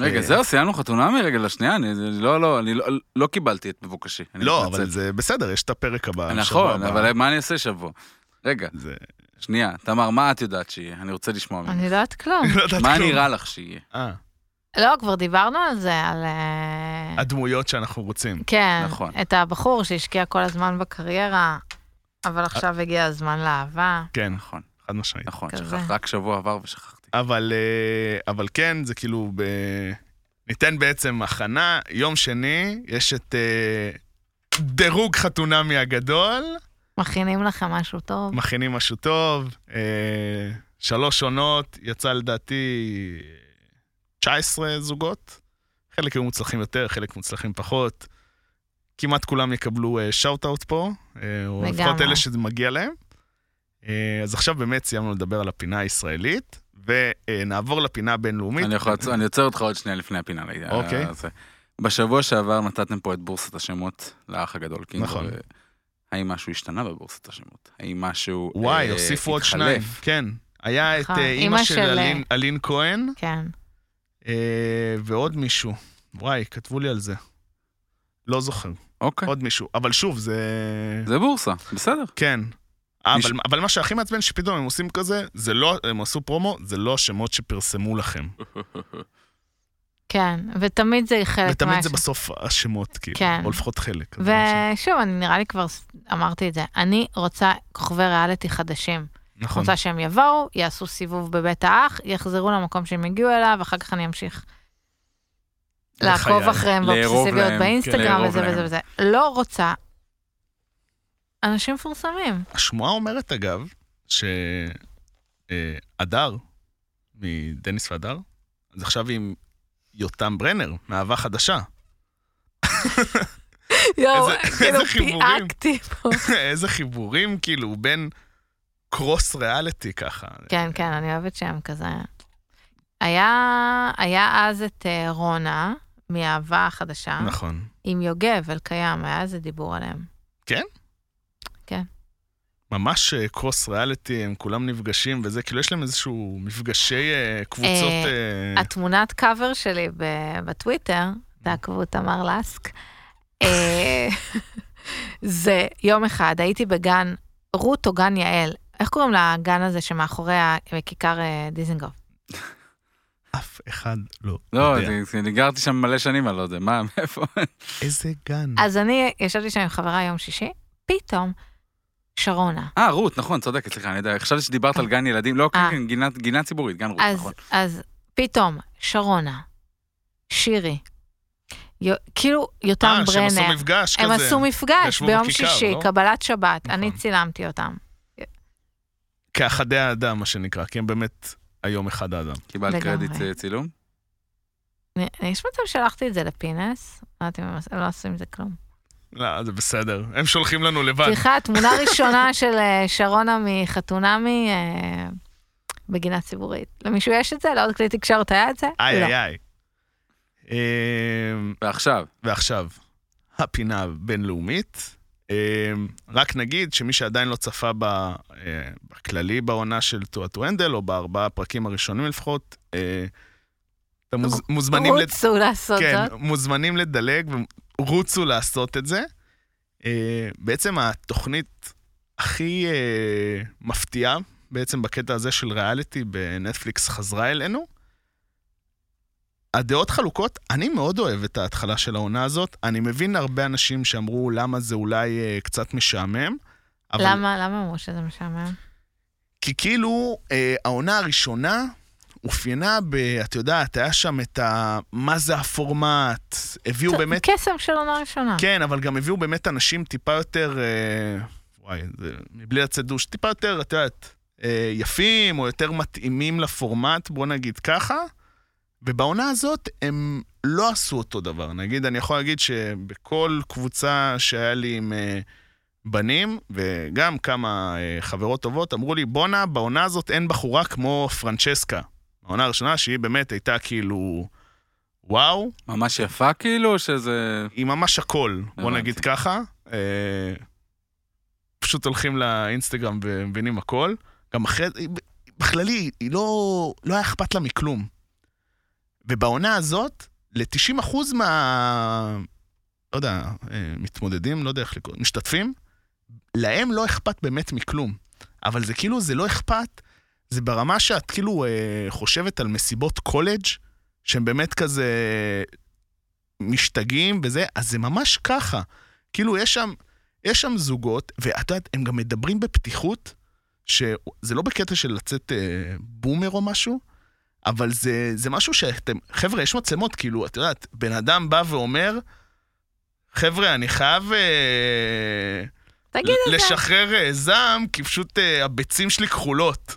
C: רגע,
A: אה,
C: זהו, סיימנו חתונה מרגל השנייה? אני אני לא, לא, אני לא- לא קיבלתי את מבוקשי. אני
A: לא,
C: מתנצל.
A: אבל זה בסדר, יש את הפרק הבא. שבוע
C: נכון,
A: הבא.
C: אבל מה אני אעשה שבוע? רגע,
A: זה...
C: שנייה, תמר, מה את יודעת שיהיה? אני רוצה לשמוע ממך.
B: אני לא יודעת כלום.
A: לא יודעת
C: מה
A: כלום.
C: נראה לך שיהיה?
A: אה,
B: לא, כבר דיברנו על זה, על... אה,
A: הדמויות שאנחנו רוצים.
B: כן,
C: נכון.
B: את הבחור שהשקיע כל הזמן בקריירה, אבל
A: אה.
B: עכשיו הגיע הזמן לאהבה.
A: כן,
C: נכון,
A: חד משמעית.
C: נכון,
B: כזה.
C: שכחת, רק שבוע עבר ושכחתי.
A: אבל, אה, אבל כן, זה כאילו, ב... ניתן בעצם הכנה. יום שני, יש את אה, דירוג חתונמי הגדול,
B: מכינים לכם משהו טוב.
A: מכינים משהו טוב, אה, שלוש עונות, יצא לדעתי 19 זוגות. חלק היו מוצלחים יותר, חלק מוצלחים פחות. כמעט כולם יקבלו שאוט-אאוט פה, אה, או
B: לגמרי.
A: לפחות אלה שזה מגיע להם. אה, אז עכשיו באמת סיימנו לדבר על הפינה הישראלית, ונעבור לפינה הבינלאומית.
C: אני יכול לעצור- אני עוצר אותך עוד שנייה לפני הפינה. רגע,
A: אוקיי.
C: הזה. בשבוע שעבר נתתם פה את בורסת השמות לאח הגדול קינג.
A: נכון.
C: האם משהו השתנה בבורסת השמות? האם משהו
A: וואי,
C: אה,
A: הוסיפו עוד
C: התחלף?
A: שניים. כן. היה את
B: נכון.
A: אה,
B: אמא
A: אימא של
B: של, אה,
A: אלין- אלין כהן,
B: כן.
A: אה, ועוד מישהו. וואי, כתבו לי על זה. לא זוכר.
C: אוקיי,
A: עוד מישהו. אבל שוב, זה...
C: זה בורסה, בסדר.
A: כן. אה,
C: נש-
A: אבל, אבל מה שהכי מעצבן שפתאום הם עושים כזה, זה לא, הם עשו פרומו, זה לא השמות שפרסמו לכם.
B: אה, כן, ותמיד זה חלק
A: ותמיד זה
B: מהש-
A: בסוף השמות, כאילו.
B: כן.
A: או לפחות חלק. אז משהו.
B: ושוב, אני נראה לי כבר ס- אמרתי את זה, אני רוצה כוכבי ריאליטי חדשים.
A: נכון.
B: רוצה שהם יבואו, יעשו סיבוב בבית האח, יחזרו למקום שהם הגיעו אליו, אחר כך אני אמשיך לעקוב
A: בחיי.
B: אחריהם
C: לארוב
B: באובססיביות
C: להם, כן,
B: באינסטגרם
C: לארוב
B: וזה
C: להם.
B: וזה וזה. לא רוצה. אנשים מפורסמים.
A: השמועה אומרת, אגב, שהדר, מדניס והדר, אז עכשיו היא עם יותם ברנר, מאהבה חדשה.
B: יואו,
A: איזה-
B: כאילו
A: איזה חיבורים.
B: פיאקתי פה.
A: איזה חיבורים, כאילו, בין קרוס ריאליטי ככה.
B: כן, כן, אני אוהבת שהם כזה. היה, היה אז את אה, רונה, מאהבה החדשה,
A: נכון.
B: עם יוגב אלקיים, היה איזה דיבור עליהם.
A: ממש אה, קרוס ריאליטי, הם כולם נפגשים וזה, כאילו יש להם איזשהו מפגשי אה, קבוצות... אה,
B: התמונת קאבר שלי ב- בטוויטר, תעקבו תמר לסק, אה, זה יום אחד, הייתי בגן רות או גן יעל. איך קוראים לגן הזה שמאחורי ה- כיכר אה, דיזנגוף?
A: אף אחד לא
C: לא,
A: יודע.
C: זה- זה- אני גרתי שם מלא שנים, אני לא יודע. מה, מאיפה?
A: איזה גן.
B: אז אני ישבתי שם עם חברה יום שישי, פתאום שרונה.
C: אה, רות, נכון, צודקת, סליחה, אני יודע. חשבתי שדיברת על גן ילדים. לא, כן,
B: אה.
C: כן, גינה- גינה ציבורית, גן רות,
B: אז,
C: נכון.
B: אז פתאום שרונה, שירי, י... כאילו יותם
A: אה, שהם עשו
B: ברנר,
A: מפגש
B: הם
A: כזה.
B: עשו מפגש
A: ישבו
B: ביום
A: בכיכר,
B: שישי,
A: לא?
B: קבלת שבת,
A: נכון.
B: אני צילמתי אותם.
A: כאחדי האדם, מה שנקרא, כי הם באמת היום אחד האדם.
C: קיבלת
B: לגמרי.
C: קרדיט אה, צילום?
B: אני- יש מצב שלחתי את זה לפינס, לא יודעת אם הם עש- הם לא עשו עם זה כלום.
A: לא, זה בסדר. הם שולחים לנו לבד.
B: סליחה, תמונה ראשונה של אה, שרונה מחתונמי אה, בגינה ציבורית. למישהו יש את זה? לעוד כלי תקשורת היה את זה?
A: איי,
B: לא.
A: איי, איי. אמ,
C: ועכשיו,
A: ועכשיו, הפינה הבינלאומית. אמ, רק נגיד שמי שעדיין לא צפה ב, אה, בכללי בעונה של טועה טו הנדל, או בארבעה הפרקים הראשונים לפחות, אה, אתם מוז, מוזמנים, לד...
B: רוצו לעשות
A: כן,
B: זאת.
A: מוזמנים לדלג ורוצו לעשות את זה. אה, בעצם התוכנית הכי אה, מפתיעה, בעצם בקטע הזה של ריאליטי בנטפליקס חזרה אלינו. הדעות חלוקות, אני מאוד אוהב את ההתחלה של העונה הזאת. אני מבין הרבה אנשים שאמרו למה זה אולי אה, קצת משעמם. אבל-
B: למה למה אמרו שזה משעמם?
A: כי כאילו, אה, העונה הראשונה אופיינה ב... את יודעת, היה שם את ה... מה זה הפורמט, הביאו
B: טוב,
A: באמת...
B: קסם של עונה ראשונה.
A: כן, אבל גם הביאו באמת אנשים טיפה יותר... אה, וואי, זה, מבלי לצאת דוש, טיפה יותר, את יודעת, אה, יפים או יותר מתאימים לפורמט, בוא נגיד ככה. ובעונה הזאת הם לא עשו אותו דבר. נגיד, אני יכול להגיד שבכל קבוצה שהיה לי עם אה, בנים, וגם כמה אה, חברות טובות, אמרו לי, בואנה, בעונה הזאת אין בחורה כמו פרנצ'סקה. העונה הראשונה, שהיא באמת הייתה כאילו, וואו,
C: ממש יפה כאילו, שזה...
A: היא ממש הכל, בוא
C: הבנתי.
A: נגיד ככה. אה, פשוט הולכים לאינסטגרם ומבינים הכל. גם אחרי, היא- בכללי, היא לא, לא היה אכפת לה מכלום. ובעונה הזאת, ל-90% מה... לא יודע, אה, מתמודדים, לא יודע איך לקרוא, משתתפים, להם לא אכפת באמת מכלום. אבל זה כאילו, זה לא אכפת, זה ברמה שאת כאילו אה, חושבת על מסיבות קולג' שהם באמת כזה משתגעים וזה, אז זה ממש ככה. כאילו, יש שם, יש שם זוגות, ואת יודעת, הם גם מדברים בפתיחות, שזה לא בקטע של לצאת אה, בומר או משהו, אבל זה, זה משהו שאתם, חבר'ה, יש מצלמות, כאילו, את יודעת, בן אדם בא ואומר, חבר'ה, אני חייב אה,
B: תגיד את זה.
A: לשחרר אה, זעם, כי פשוט אה, הביצים שלי כחולות.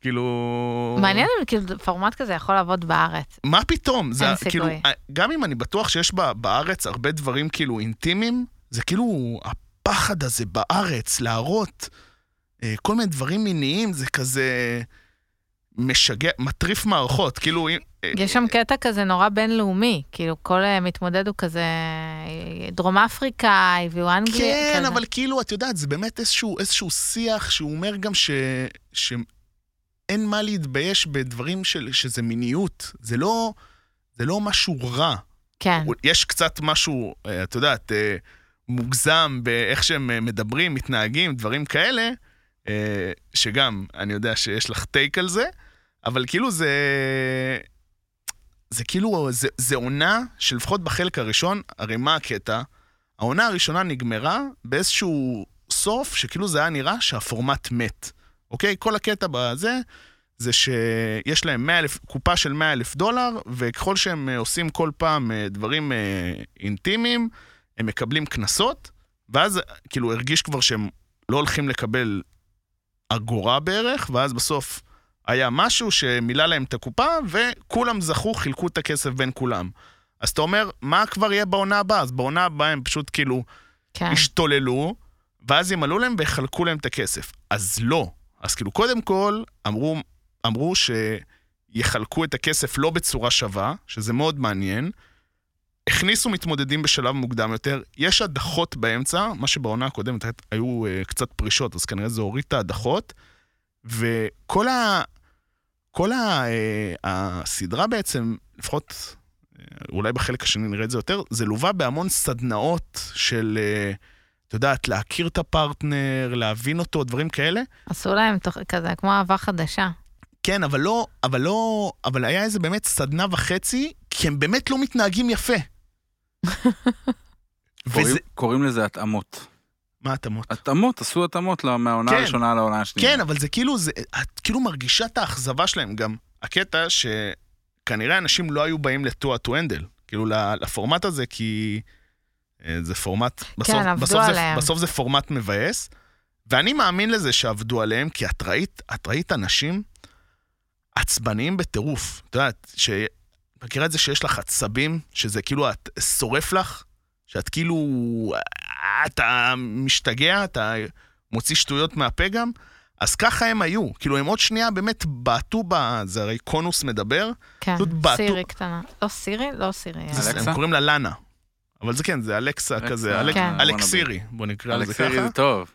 A: כאילו...
B: מעניין אם כאילו פורמט כזה יכול לעבוד בארץ.
A: מה פתאום? זה
B: אין סיכוי.
A: כאילו, גם אם אני בטוח שיש ב- בארץ הרבה דברים כאילו אינטימיים, זה כאילו הפחד הזה בארץ להראות אה, כל מיני דברים מיניים, זה כזה משגע, מטריף מערכות, כאילו... אם- אה,
B: יש שם קטע כזה נורא בינלאומי, כאילו כל אה, מתמודד הוא כזה אה, דרום אפריקה, הביאו אנגליה.
A: כן,
B: כזה.
A: אבל כאילו, את יודעת, זה באמת איזשהו, איזשהו שיח שהוא אומר גם ש... ש... אין מה להתבייש בדברים של, שזה מיניות, זה לא, זה לא משהו רע.
B: כן,
A: יש קצת משהו, אה, את יודעת, אה, מוגזם באיך שהם אה, מדברים, מתנהגים, דברים כאלה, אה, שגם, אני יודע שיש לך טייק על זה, אבל כאילו זה... זה כאילו, זה, זה עונה שלפחות בחלק הראשון, הרי מה הקטע? העונה הראשונה נגמרה באיזשהו סוף, שכאילו זה היה נראה שהפורמט מת, אוקיי? כל הקטע בזה, זה שיש להם 100 אלף, קופה של 100 אלף דולר, וככל שהם אה, עושים כל פעם אה, דברים אה, אינטימיים, הם מקבלים קנסות, ואז אה, כאילו הרגיש כבר שהם לא הולכים לקבל אגורה בערך, ואז בסוף היה משהו שמילא להם את הקופה, וכולם זכו, חילקו את הכסף בין כולם. אז אתה אומר, מה כבר יהיה בעונה הבאה? אז בעונה הבאה הם פשוט כאילו
B: כן.
A: השתוללו, ואז ימלאו להם ויחלקו להם את הכסף. אז לא. אז כאילו, קודם כל, אמרו, אמרו שיחלקו את הכסף לא בצורה שווה, שזה מאוד מעניין. הכניסו מתמודדים בשלב מוקדם יותר, יש הדחות באמצע, מה שבעונה הקודמת היית- היו אה, קצת פרישות, אז כנראה זה הוריד את ההדחות. וכל ה... כל ה... אה, הסדרה בעצם, לפחות אה, אולי בחלק השני נראה את זה יותר, זה לווה בהמון סדנאות של, אה, את יודעת, להכיר את הפרטנר, להבין אותו, דברים כאלה.
B: עשו להם תוך- כזה כמו אהבה חדשה.
A: כן, אבל לא, אבל לא, אבל היה איזה באמת סדנה וחצי, כי הם באמת לא מתנהגים יפה. וזה,
C: קוראים- קוראים לזה התאמות.
A: מה התאמות?
C: התאמות, עשו התאמות ל- מהעונה
A: כן.
C: הראשונה לעונה השנייה.
A: כן, אבל זה כאילו, זה, את כאילו מרגישה את האכזבה שלהם גם. הקטע שכנראה אנשים לא היו באים לטו טו הנדל, כאילו ל- לפורמט הזה, כי אה, זה פורמט, בסוף,
B: כן, עבדו
A: בסוף, זה,
B: עליהם.
A: בסוף זה פורמט מבאס, ואני מאמין לזה שעבדו עליהם, כי את ראית, את ראית אנשים עצבניים בטירוף. את יודעת, ש... מכירה את זה שיש לך עצבים, שזה כאילו, את שורף לך, שאת כאילו, אה, אתה משתגע, אתה מוציא שטויות מהפה גם, אז ככה הם היו. כאילו, הם עוד שנייה באמת בעטו ב... זה הרי קונוס מדבר,
B: כן,
A: פשוט בעטו-
B: סירי קטנה. לא סירי? לא סירי.
A: זה-
C: אלכסה?
A: הם קוראים לה לנה. אבל זה כן, זה אלכסה
C: אלכסה, לא
A: כזה, אלק-
B: כן.
A: אלכסירי, בוא נקרא לזה
C: אלכסירי
A: ככה. אה?
C: זה טוב.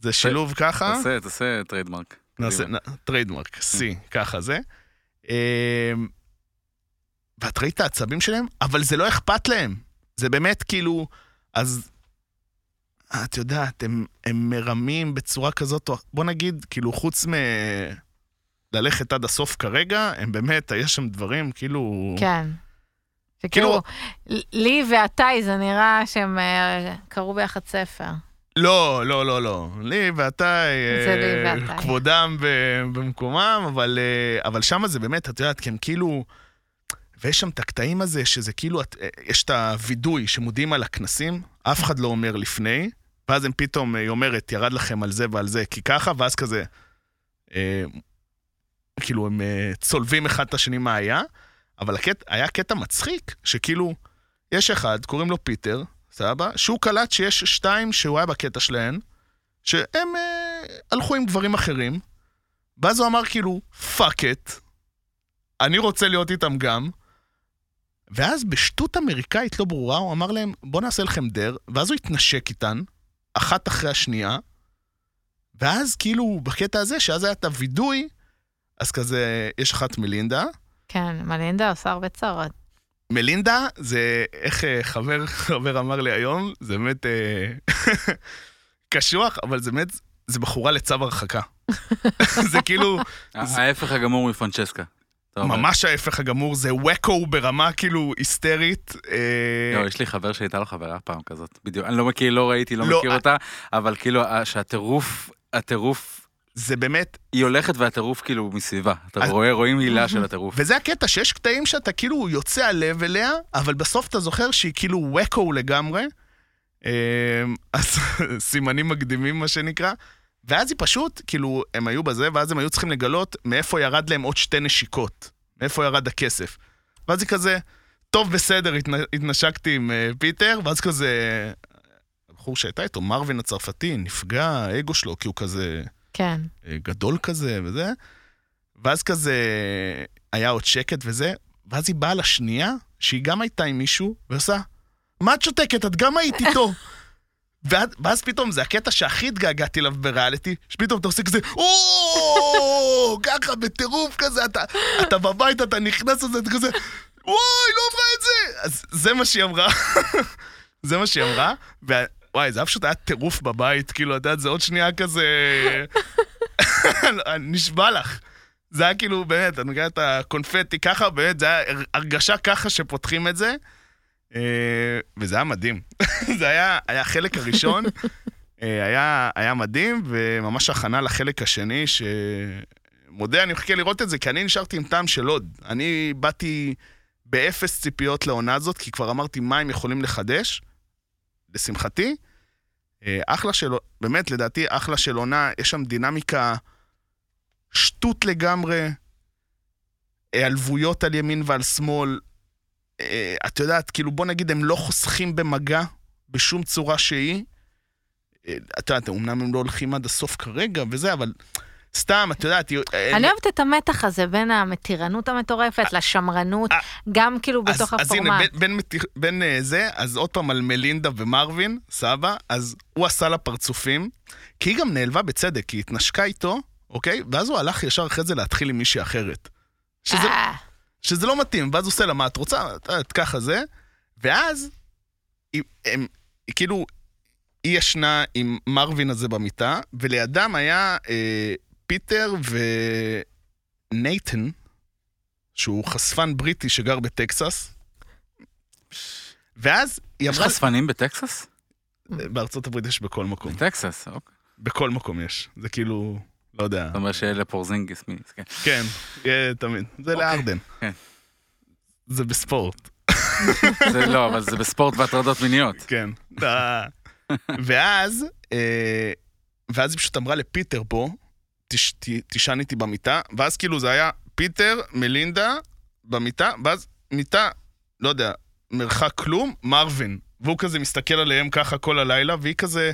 A: זה שילוב ככה.
C: תעשה, תעשה טריידמרק.
A: נעשה,
C: קדימה.
A: נ- טריידמרק, C, ככה זה. אמ, ואת ראית את העצבים שלהם? אבל זה לא אכפת להם. זה באמת כאילו, אז... את יודעת, הם, הם מרמים בצורה כזאת, או- בוא נגיד, כאילו, חוץ מ... ללכת עד הסוף כרגע, הם באמת, יש שם דברים, כאילו...
B: כן. שכאילו, לי ועתאי זה נראה שהם אה, קראו ביחד ספר.
A: לא, לא, לא, לא. לי ואתה,
B: זה לי
A: אה,
B: ואתה.
A: כבודם ב- במקומם, אבל, אה, אבל שם זה באמת, את יודעת, כי הם כאילו... ויש שם את הקטעים הזה, שזה כאילו, את- אה, יש את הווידוי שמודיעים על הכנסים, אף אחד לא אומר לפני, ואז הם פתאום, אה, היא אומרת, ירד לכם על זה ועל זה, כי ככה, ואז כזה, אה, כאילו, הם אה, צולבים אחד את השני מה היה, אבל הקט, היה קטע מצחיק, שכאילו, יש אחד, קוראים לו פיטר, סבבה? שהוא קלט שיש שתיים שהוא היה בקטע שלהן, שהם אה, הלכו עם גברים אחרים, ואז הוא אמר כאילו, פאק את, אני רוצה להיות איתם גם. ואז בשטות אמריקאית לא ברורה, הוא אמר להם, בוא נעשה לכם דר, ואז הוא התנשק איתן, אחת אחרי השנייה, ואז כאילו, בקטע הזה, שאז היה את הווידוי, אז כזה, יש אחת מלינדה,
B: כן, מלינדה עושה הרבה צרות.
A: מלינדה זה, איך אה, חבר, חבר אמר לי היום, זה באמת אה, קשוח, אבל זה באמת, זה בחורה לצו הרחקה. זה כאילו,
C: ה- ההפך הגמור מפרנצ'סקה. אתה אומר.
A: ממש ההפך הגמור, זה וואקו ברמה כאילו היסטרית. אה,
C: לא, יש לי חבר שהייתה לו חברה פעם כזאת, בדיוק. אני לא מכיר, לא ראיתי, לא
A: לא,
C: מכיר
A: אה-
C: אותה, אבל כאילו, ה- שהטירוף, הטירוף,
A: זה באמת,
C: היא הולכת והטירוף כאילו מסביבה. אתה
A: אז-
C: רואה, רואים הילה של הטירוף.
A: וזה הקטע, שיש קטעים שאתה כאילו יוצא הלב אליה, אבל בסוף אתה זוכר שהיא כאילו וואקו לגמרי. אמ, אז סימנים מקדימים, מה שנקרא. ואז היא פשוט, כאילו, הם היו בזה, ואז הם היו צריכים לגלות מאיפה ירד להם עוד שתי נשיקות. מאיפה ירד הכסף. ואז היא כזה, טוב, בסדר, התנ- התנשקתי עם אה, פיטר, ואז כזה... הבחור שהייתה איתו, מרווין הצרפתי, נפגע האגו שלו, כי הוא כזה...
B: כן.
A: אה, גדול כזה וזה, ואז כזה היה עוד שקט וזה, ואז היא באה לשנייה, שהיא גם הייתה עם מישהו, ועושה, מה את שותקת? את גם היית איתו. ואז, ואז פתאום זה הקטע שהכי התגעגעתי אליו בריאליטי, שפתאום אתה עושה כזה, או, ככה בטירוף כזה, אתה, אתה בבית, אתה נכנס לזה, אתה כזה, וואי, לא עברה את זה! אז זה מה שהיא אמרה. זה מה שהיא אמרה, ווואי, זה היה פשוט היה טירוף בבית, כאילו, את יודעת, זה עוד שנייה כזה... אני נשבע לך. זה היה כאילו, באמת, אני מגיע את הקונפטי ככה, באמת, זה היה הר- הרגשה ככה שפותחים את זה, אה, וזה היה מדהים. זה היה, היה החלק הראשון, אה, היה, היה מדהים, וממש הכנה לחלק השני, ש... מודה, אני מחכה לראות את זה, כי אני נשארתי עם טעם של עוד. אני באתי באפס ציפיות לעונה הזאת, כי כבר אמרתי מה הם יכולים לחדש, לשמחתי. אה, אחלה של, באמת, לדעתי, אחלה של עונה, יש שם דינמיקה שטות לגמרי, העלבויות על ימין ועל שמאל. אה, את יודעת, כאילו, בוא נגיד, הם לא חוסכים במגע בשום צורה שהיא. אה, את יודעת, אמנם הם לא הולכים עד הסוף כרגע וזה, אבל סתם, את יודעת, אה,
B: אני אוהבת את המתח הזה בין המתירנות המטורפת לשמרנות,
A: אה,
B: גם כאילו
A: אז-
B: בתוך
A: אז הנה,
B: הפורמט.
A: בין, בין, מתיח- בין אה, זה, אז עוד פעם על מלינדה ומרווין, סבא, אז הוא עשה לה פרצופים, כי היא גם נעלבה בצדק, כי היא התנשקה איתו, אוקיי? ואז הוא הלך ישר אחרי זה להתחיל עם מישהי אחרת. שזה,
B: אה,
A: שזה לא מתאים, ואז הוא עושה לה מה את רוצה, את יודעת, ככה זה, ואז, היא, הם, היא כאילו, היא ישנה עם מרווין הזה במיטה, ולידם היה אה, פיטר ונייתן, שהוא חשפן בריטי שגר בטקסס, ואז היא
C: יש
A: אמרה,
C: חשפנים בטקסס?
A: בארצות הברית יש בכל מקום,
C: בטקסס, אוקיי.
A: בכל מקום יש, זה כאילו, לא יודע,
C: זאת אומרת שאלה פורזינגיס, מי? כן.
A: כן, אה, תמיד, זה לארדן,
C: כן.
A: זה בספורט.
C: זה לא, אבל זה בספורט והטרדות מיניות.
A: כן. אה. ואז, אה, ואז היא פשוט אמרה לפיטר בוא, "תש- ת- תישן איתי במיטה, ואז כאילו זה היה פיטר, מלינדה, במיטה, ואז מיטה, לא יודע, מרחק כלום, מרווין. והוא כזה מסתכל עליהם ככה כל הלילה, והיא כזה,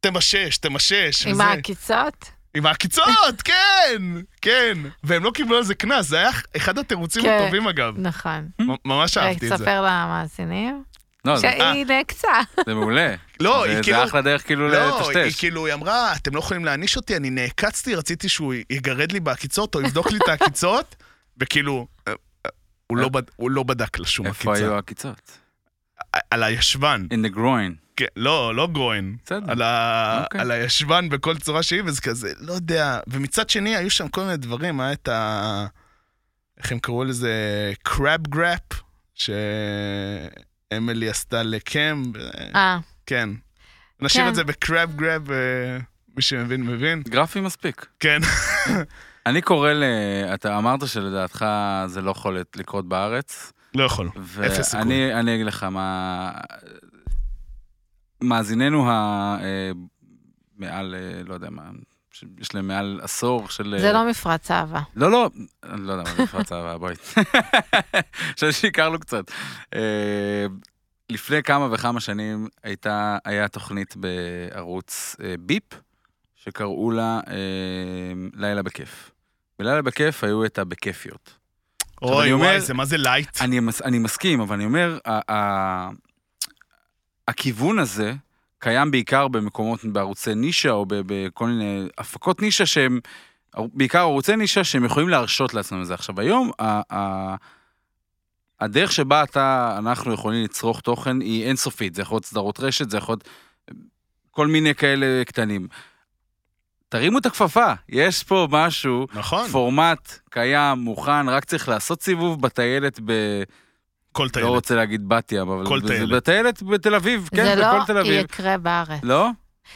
A: תמשש, תמשש.
B: עם
A: וזה.
B: העקיצות?
A: עם העקיצות, כן, כן. והם לא קיבלו על זה קנס, זה היה אחד התירוצים
B: כן.
A: הטובים אגב.
B: נכון.
A: מ- ממש אהבתי את זה.
B: תספר למאזינים.
C: לא, זה-
B: שהיא נעקצה.
C: זה מעולה.
A: לא,
C: זה-
A: היא
C: זה
A: כאילו-
C: אחלה דרך כאילו
A: לא, היא
C: לטשטש.
A: כאילו, היא אמרה, אתם לא יכולים להעניש אותי, אני נעקצתי, רציתי שהוא יגרד לי בעקיצות או יבדוק לי את העקיצות, וכאילו, אה, אה, הוא לא בד- הוא לא בדק לה שום
C: איפה
A: עקיצה.
C: היו העקיצות?
A: על הישבן,
C: In the groin.
A: כן, לא, לא גרוין.
C: בסדר.
A: על ה-
C: אוקיי.
A: על הישבן בכל צורה שהיא, וזה כזה, לא יודע. ומצד שני, היו שם כל מיני דברים, היה את ה... איך הם קראו לזה? קראב גראפ, שאמילי עשתה לקם, ו-
B: אה,
A: כן. נשאיר
B: כן.
A: את זה בקראב גראב, אה, מי שמבין מבין.
C: גרפי מספיק.
A: כן.
C: אני קורא ל... אתה אמרת שלדעתך זה לא יכול לקרות בארץ.
A: לא יכול. אפס סיכוי.
C: ואני אני אגיד לך מה... מאזיננו ה... אה, מעל, אה, לא יודע מה, יש להם מעל עשור של... אה,
B: זה לא מפרץ אהבה.
C: לא, לא, אני לא יודע מה זה מפרץ אהבה, בואי. חושב שהכרנו קצת. אה, לפני כמה וכמה שנים הייתה, היה תוכנית בערוץ אה, ביפ, שקראו לה אה, לילה בכיף. בלילה בכיף היו את הבכיפיות. עכשיו,
A: אוי,
C: אני אומר-
A: וואי, זה מה זה לייט?
C: אני, מס- אני מסכים, אבל אני אומר, ה- ה- הכיוון הזה קיים בעיקר במקומות, בערוצי נישה או ב- בכל מיני הפקות נישה שהן בעיקר ערוצי נישה שהם יכולים להרשות לעצמם את זה. עכשיו היום, ה- ה- הדרך שבה אתה, אנחנו יכולים לצרוך תוכן היא אינסופית, זה יכול להיות סדרות רשת, זה יכול להיות כל מיני כאלה קטנים. תרימו את הכפפה, יש פה משהו,
A: נכון,
C: פורמט קיים, מוכן, רק צריך לעשות סיבוב בטיילת ב...
A: כל
C: לא
A: טיילת.
C: רוצה להגיד בת ים, אבל...
A: כל
C: זה
A: טיילת.
C: בטיילת בתל אביב,
B: זה
C: כן, בכל תל
B: לא
C: אביב.
B: יקרה בארץ.
C: לא?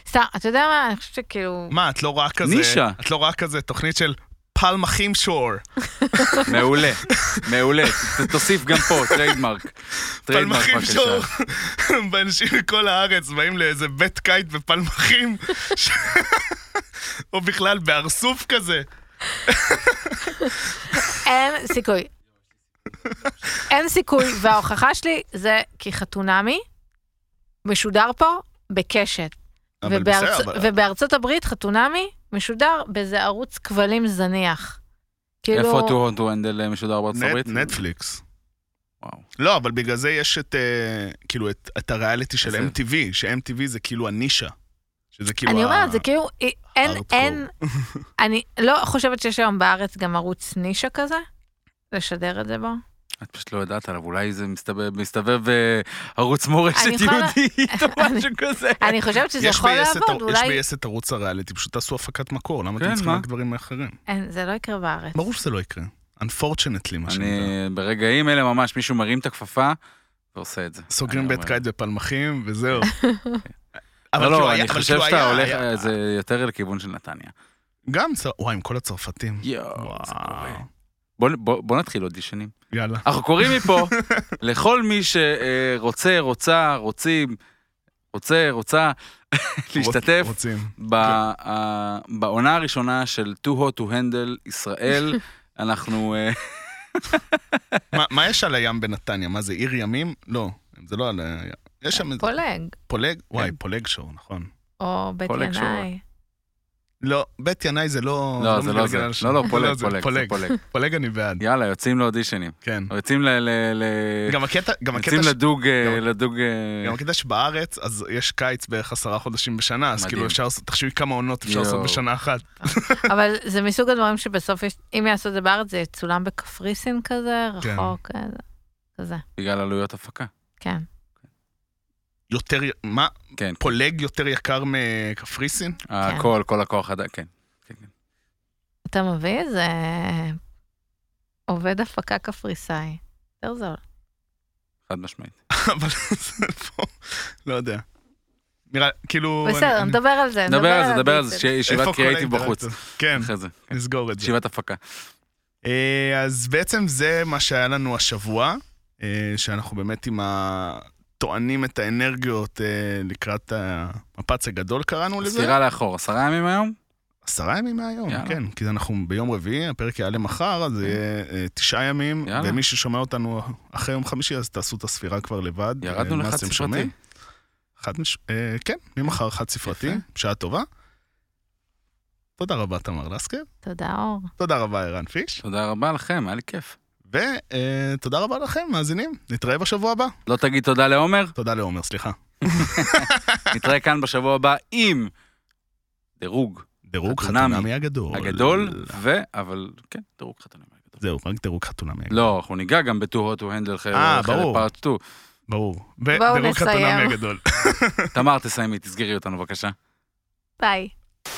B: סתם, אתה יודע מה? אני חושבת שכאילו...
A: מה, את לא רואה כזה...
C: נישה.
A: את לא רואה כזה תוכנית של פלמחים שור.
C: מעולה, מעולה. ת- תוסיף גם פה, טריידמרק. טריידמרק,
A: פלמחים
C: בבקשה.
A: שור. ואנשים מכל הארץ באים לאיזה בית קייט בפלמחים. ש- או בכלל בהר סוף כזה.
B: אין סיכוי. אין סיכוי, וההוכחה שלי זה כי חתונמי משודר פה בקשת.
A: אבל
B: ובארצ-
A: בסדר, אבל-
B: ובארצות הברית חתונמי משודר באיזה ערוץ כבלים זניח. כאילו...
C: איפה 2 to handle אה, משודר בארצות
A: נט-
C: הברית?
A: נטפליקס.
C: וואו.
A: לא, אבל בגלל זה יש את, אה, כאילו, את, את הריאליטי של
C: בסדר.
A: MTV, ש-MTV זה כאילו הנישה. שזה כאילו...
B: אני
A: ה-
B: אומרת, זה כאילו, אי- אין,
A: hardcore.
B: אין, אני לא חושבת שיש היום בארץ גם ערוץ נישה כזה, לשדר את זה בו.
C: את פשוט לא יודעת עליו, אולי זה מסתובב- מסתובב אה, ערוץ מורשת
B: אני יכולה-
C: יהודית או
B: אני-
C: משהו כזה.
B: אני חושבת שזה
A: יש
B: יכול
A: ביס את
B: לעבוד,
A: ער- יש
B: אולי...
A: ביס את ערוץ הריאליטי, פשוט תעשו הפקת מקור, למה
C: כן,
A: אתם צריכים
C: מה?
A: רק דברים אחרים?
B: אין, זה לא יקרה בארץ.
A: ברור שזה לא יקרה. Unfortunately, מה שנקרא.
C: אני ברגעים אלה ממש, מישהו מרים את הכפפה ועושה את זה.
A: סוגרים
C: אני
A: בית
C: אומר.
A: קייט בפלמחים, וזהו. אבל
C: לא,
A: כאילו
C: לא,
A: היה-
C: אני
A: אבל
C: חושב
A: כאילו
C: שאתה
A: היה-
C: הולך,
A: היה-
C: אה, זה יותר לכיוון של נתניה.
A: גם צ... וואי, עם כל הצרפתים.
C: יואו, זה
A: וואו.
C: קורה. בוא- בוא בוא נתחיל אודישנים.
A: יאללה.
C: אנחנו קוראים מפה לכל מי שרוצה, רוצה, רוצים, רוצה, רוצה להשתתף
A: רוצ- כן. רוצים.
C: ב- ה- בעונה הראשונה של Too Hot to Handle ישראל. אנחנו, אה,
A: מה- מה יש על הים בנתניה? מה זה, עיר ימים? לא, זה לא על... ה- יש שם איזה...
B: פולג,
A: פולג? וואי,
C: כן.
A: פולג שור, נכון.
B: או בית
C: פולג שור.
B: ינאי.
A: לא, בית ינאי זה לא...
C: לא, זה לא
A: מגלגל
C: זה.
A: על שם.
C: לא, לא, פולג,
A: זה
C: פולג, זה פולג.
A: פולג אני בעד,
C: יאללה, יוצאים לאודישנים.
A: כן.
C: יוצאים ל... ל- ל-
A: גם הקטע, גם הקטע,
C: יוצאים
A: ש-
C: לדוג, אה,
A: גם-
C: לדוג... אה,
A: גם הקטע שבארץ, אז יש קיץ בערך עשרה חודשים בשנה, אז
C: מדהים.
A: כאילו אפשר לעשות, תחשבי כמה עונות אפשר
C: יואו.
A: לעשות בשנה אחת.
B: אבל זה מסוג הדברים שבסוף, יש- אם יעשו את זה בארץ, זה יצולם בקפריסין כזה,
A: כן.
B: רחוק, אה, כזה,
C: בגלל עלויות הפקה.
B: כן.
A: יותר, י- מה,
C: כן,
A: פולג יותר יקר מקפריסין?
C: הכל, כל הכוח עדיין, כן. כן, כן.
B: אתה מביא איזה עובד הפקה קפריסאי. יותר זול.
C: חד משמעית.
A: אבל זה פה, לא יודע. נראה, כאילו...
B: בסדר,
A: אני-
B: נדבר על זה.
C: נדבר על זה, נדבר על זה,
B: הדיסל.
C: שיהיה
A: איפה
C: ישיבת
A: כל
C: קריאיטיב בחוץ.
A: האינטראקציות? כן,
C: אחרי זה, כן.
A: נסגור את זה.
C: ישיבת הפקה.
A: אה, אז בעצם זה מה שהיה לנו השבוע, אה, שאנחנו באמת עם ה... טוענים את האנרגיות אה, לקראת המפץ הגדול קראנו לזה. אה,
C: ספירה לאחור, עשרה ימים היום?
A: עשרה ימים מהיום,
C: יאללה.
A: כן, כי אנחנו ביום רביעי, הפרק יעלה מחר, אז זה יהיה אה, תשעה ימים,
C: יאללה.
A: ומי ששומע אותנו אחרי יום חמישי, אז תעשו את הספירה כבר לבד.
C: ירדנו
A: אה, מה
C: לחד
A: אתם
C: ספרתי.
A: שומעים. חד מש... אה, כן, ממחר חד ספרתי,
C: יפה.
A: שעה טובה. תודה רבה, תמר לסקר.
B: תודה, אור.
A: תודה רבה, ערן פיש.
C: תודה רבה לכם, היה לי כיף.
A: ותודה רבה לכם, מאזינים. נתראה בשבוע הבא.
C: לא תגיד תודה לעומר,
A: תודה לעומר, סליחה.
C: נתראה כאן בשבוע הבא עם דירוג
A: דירוג
C: חתונמי.
A: חתונמי הגדול.
C: הגדול, ו... אבל כן, דירוג חתונים הגדול.
A: זהו, רק דירוג חתונמי הגדול.
C: לא, אנחנו ניגע גם ב-Too Hot to Handle
A: אה,
C: חלק
A: ברור.
C: פארט 2.
A: ברור.
B: בואו
A: ודירוג חתונמי
B: נסיים.
A: הגדול.
C: תמר, תסיימי, תסגרי אותנו בבקשה.
B: ביי.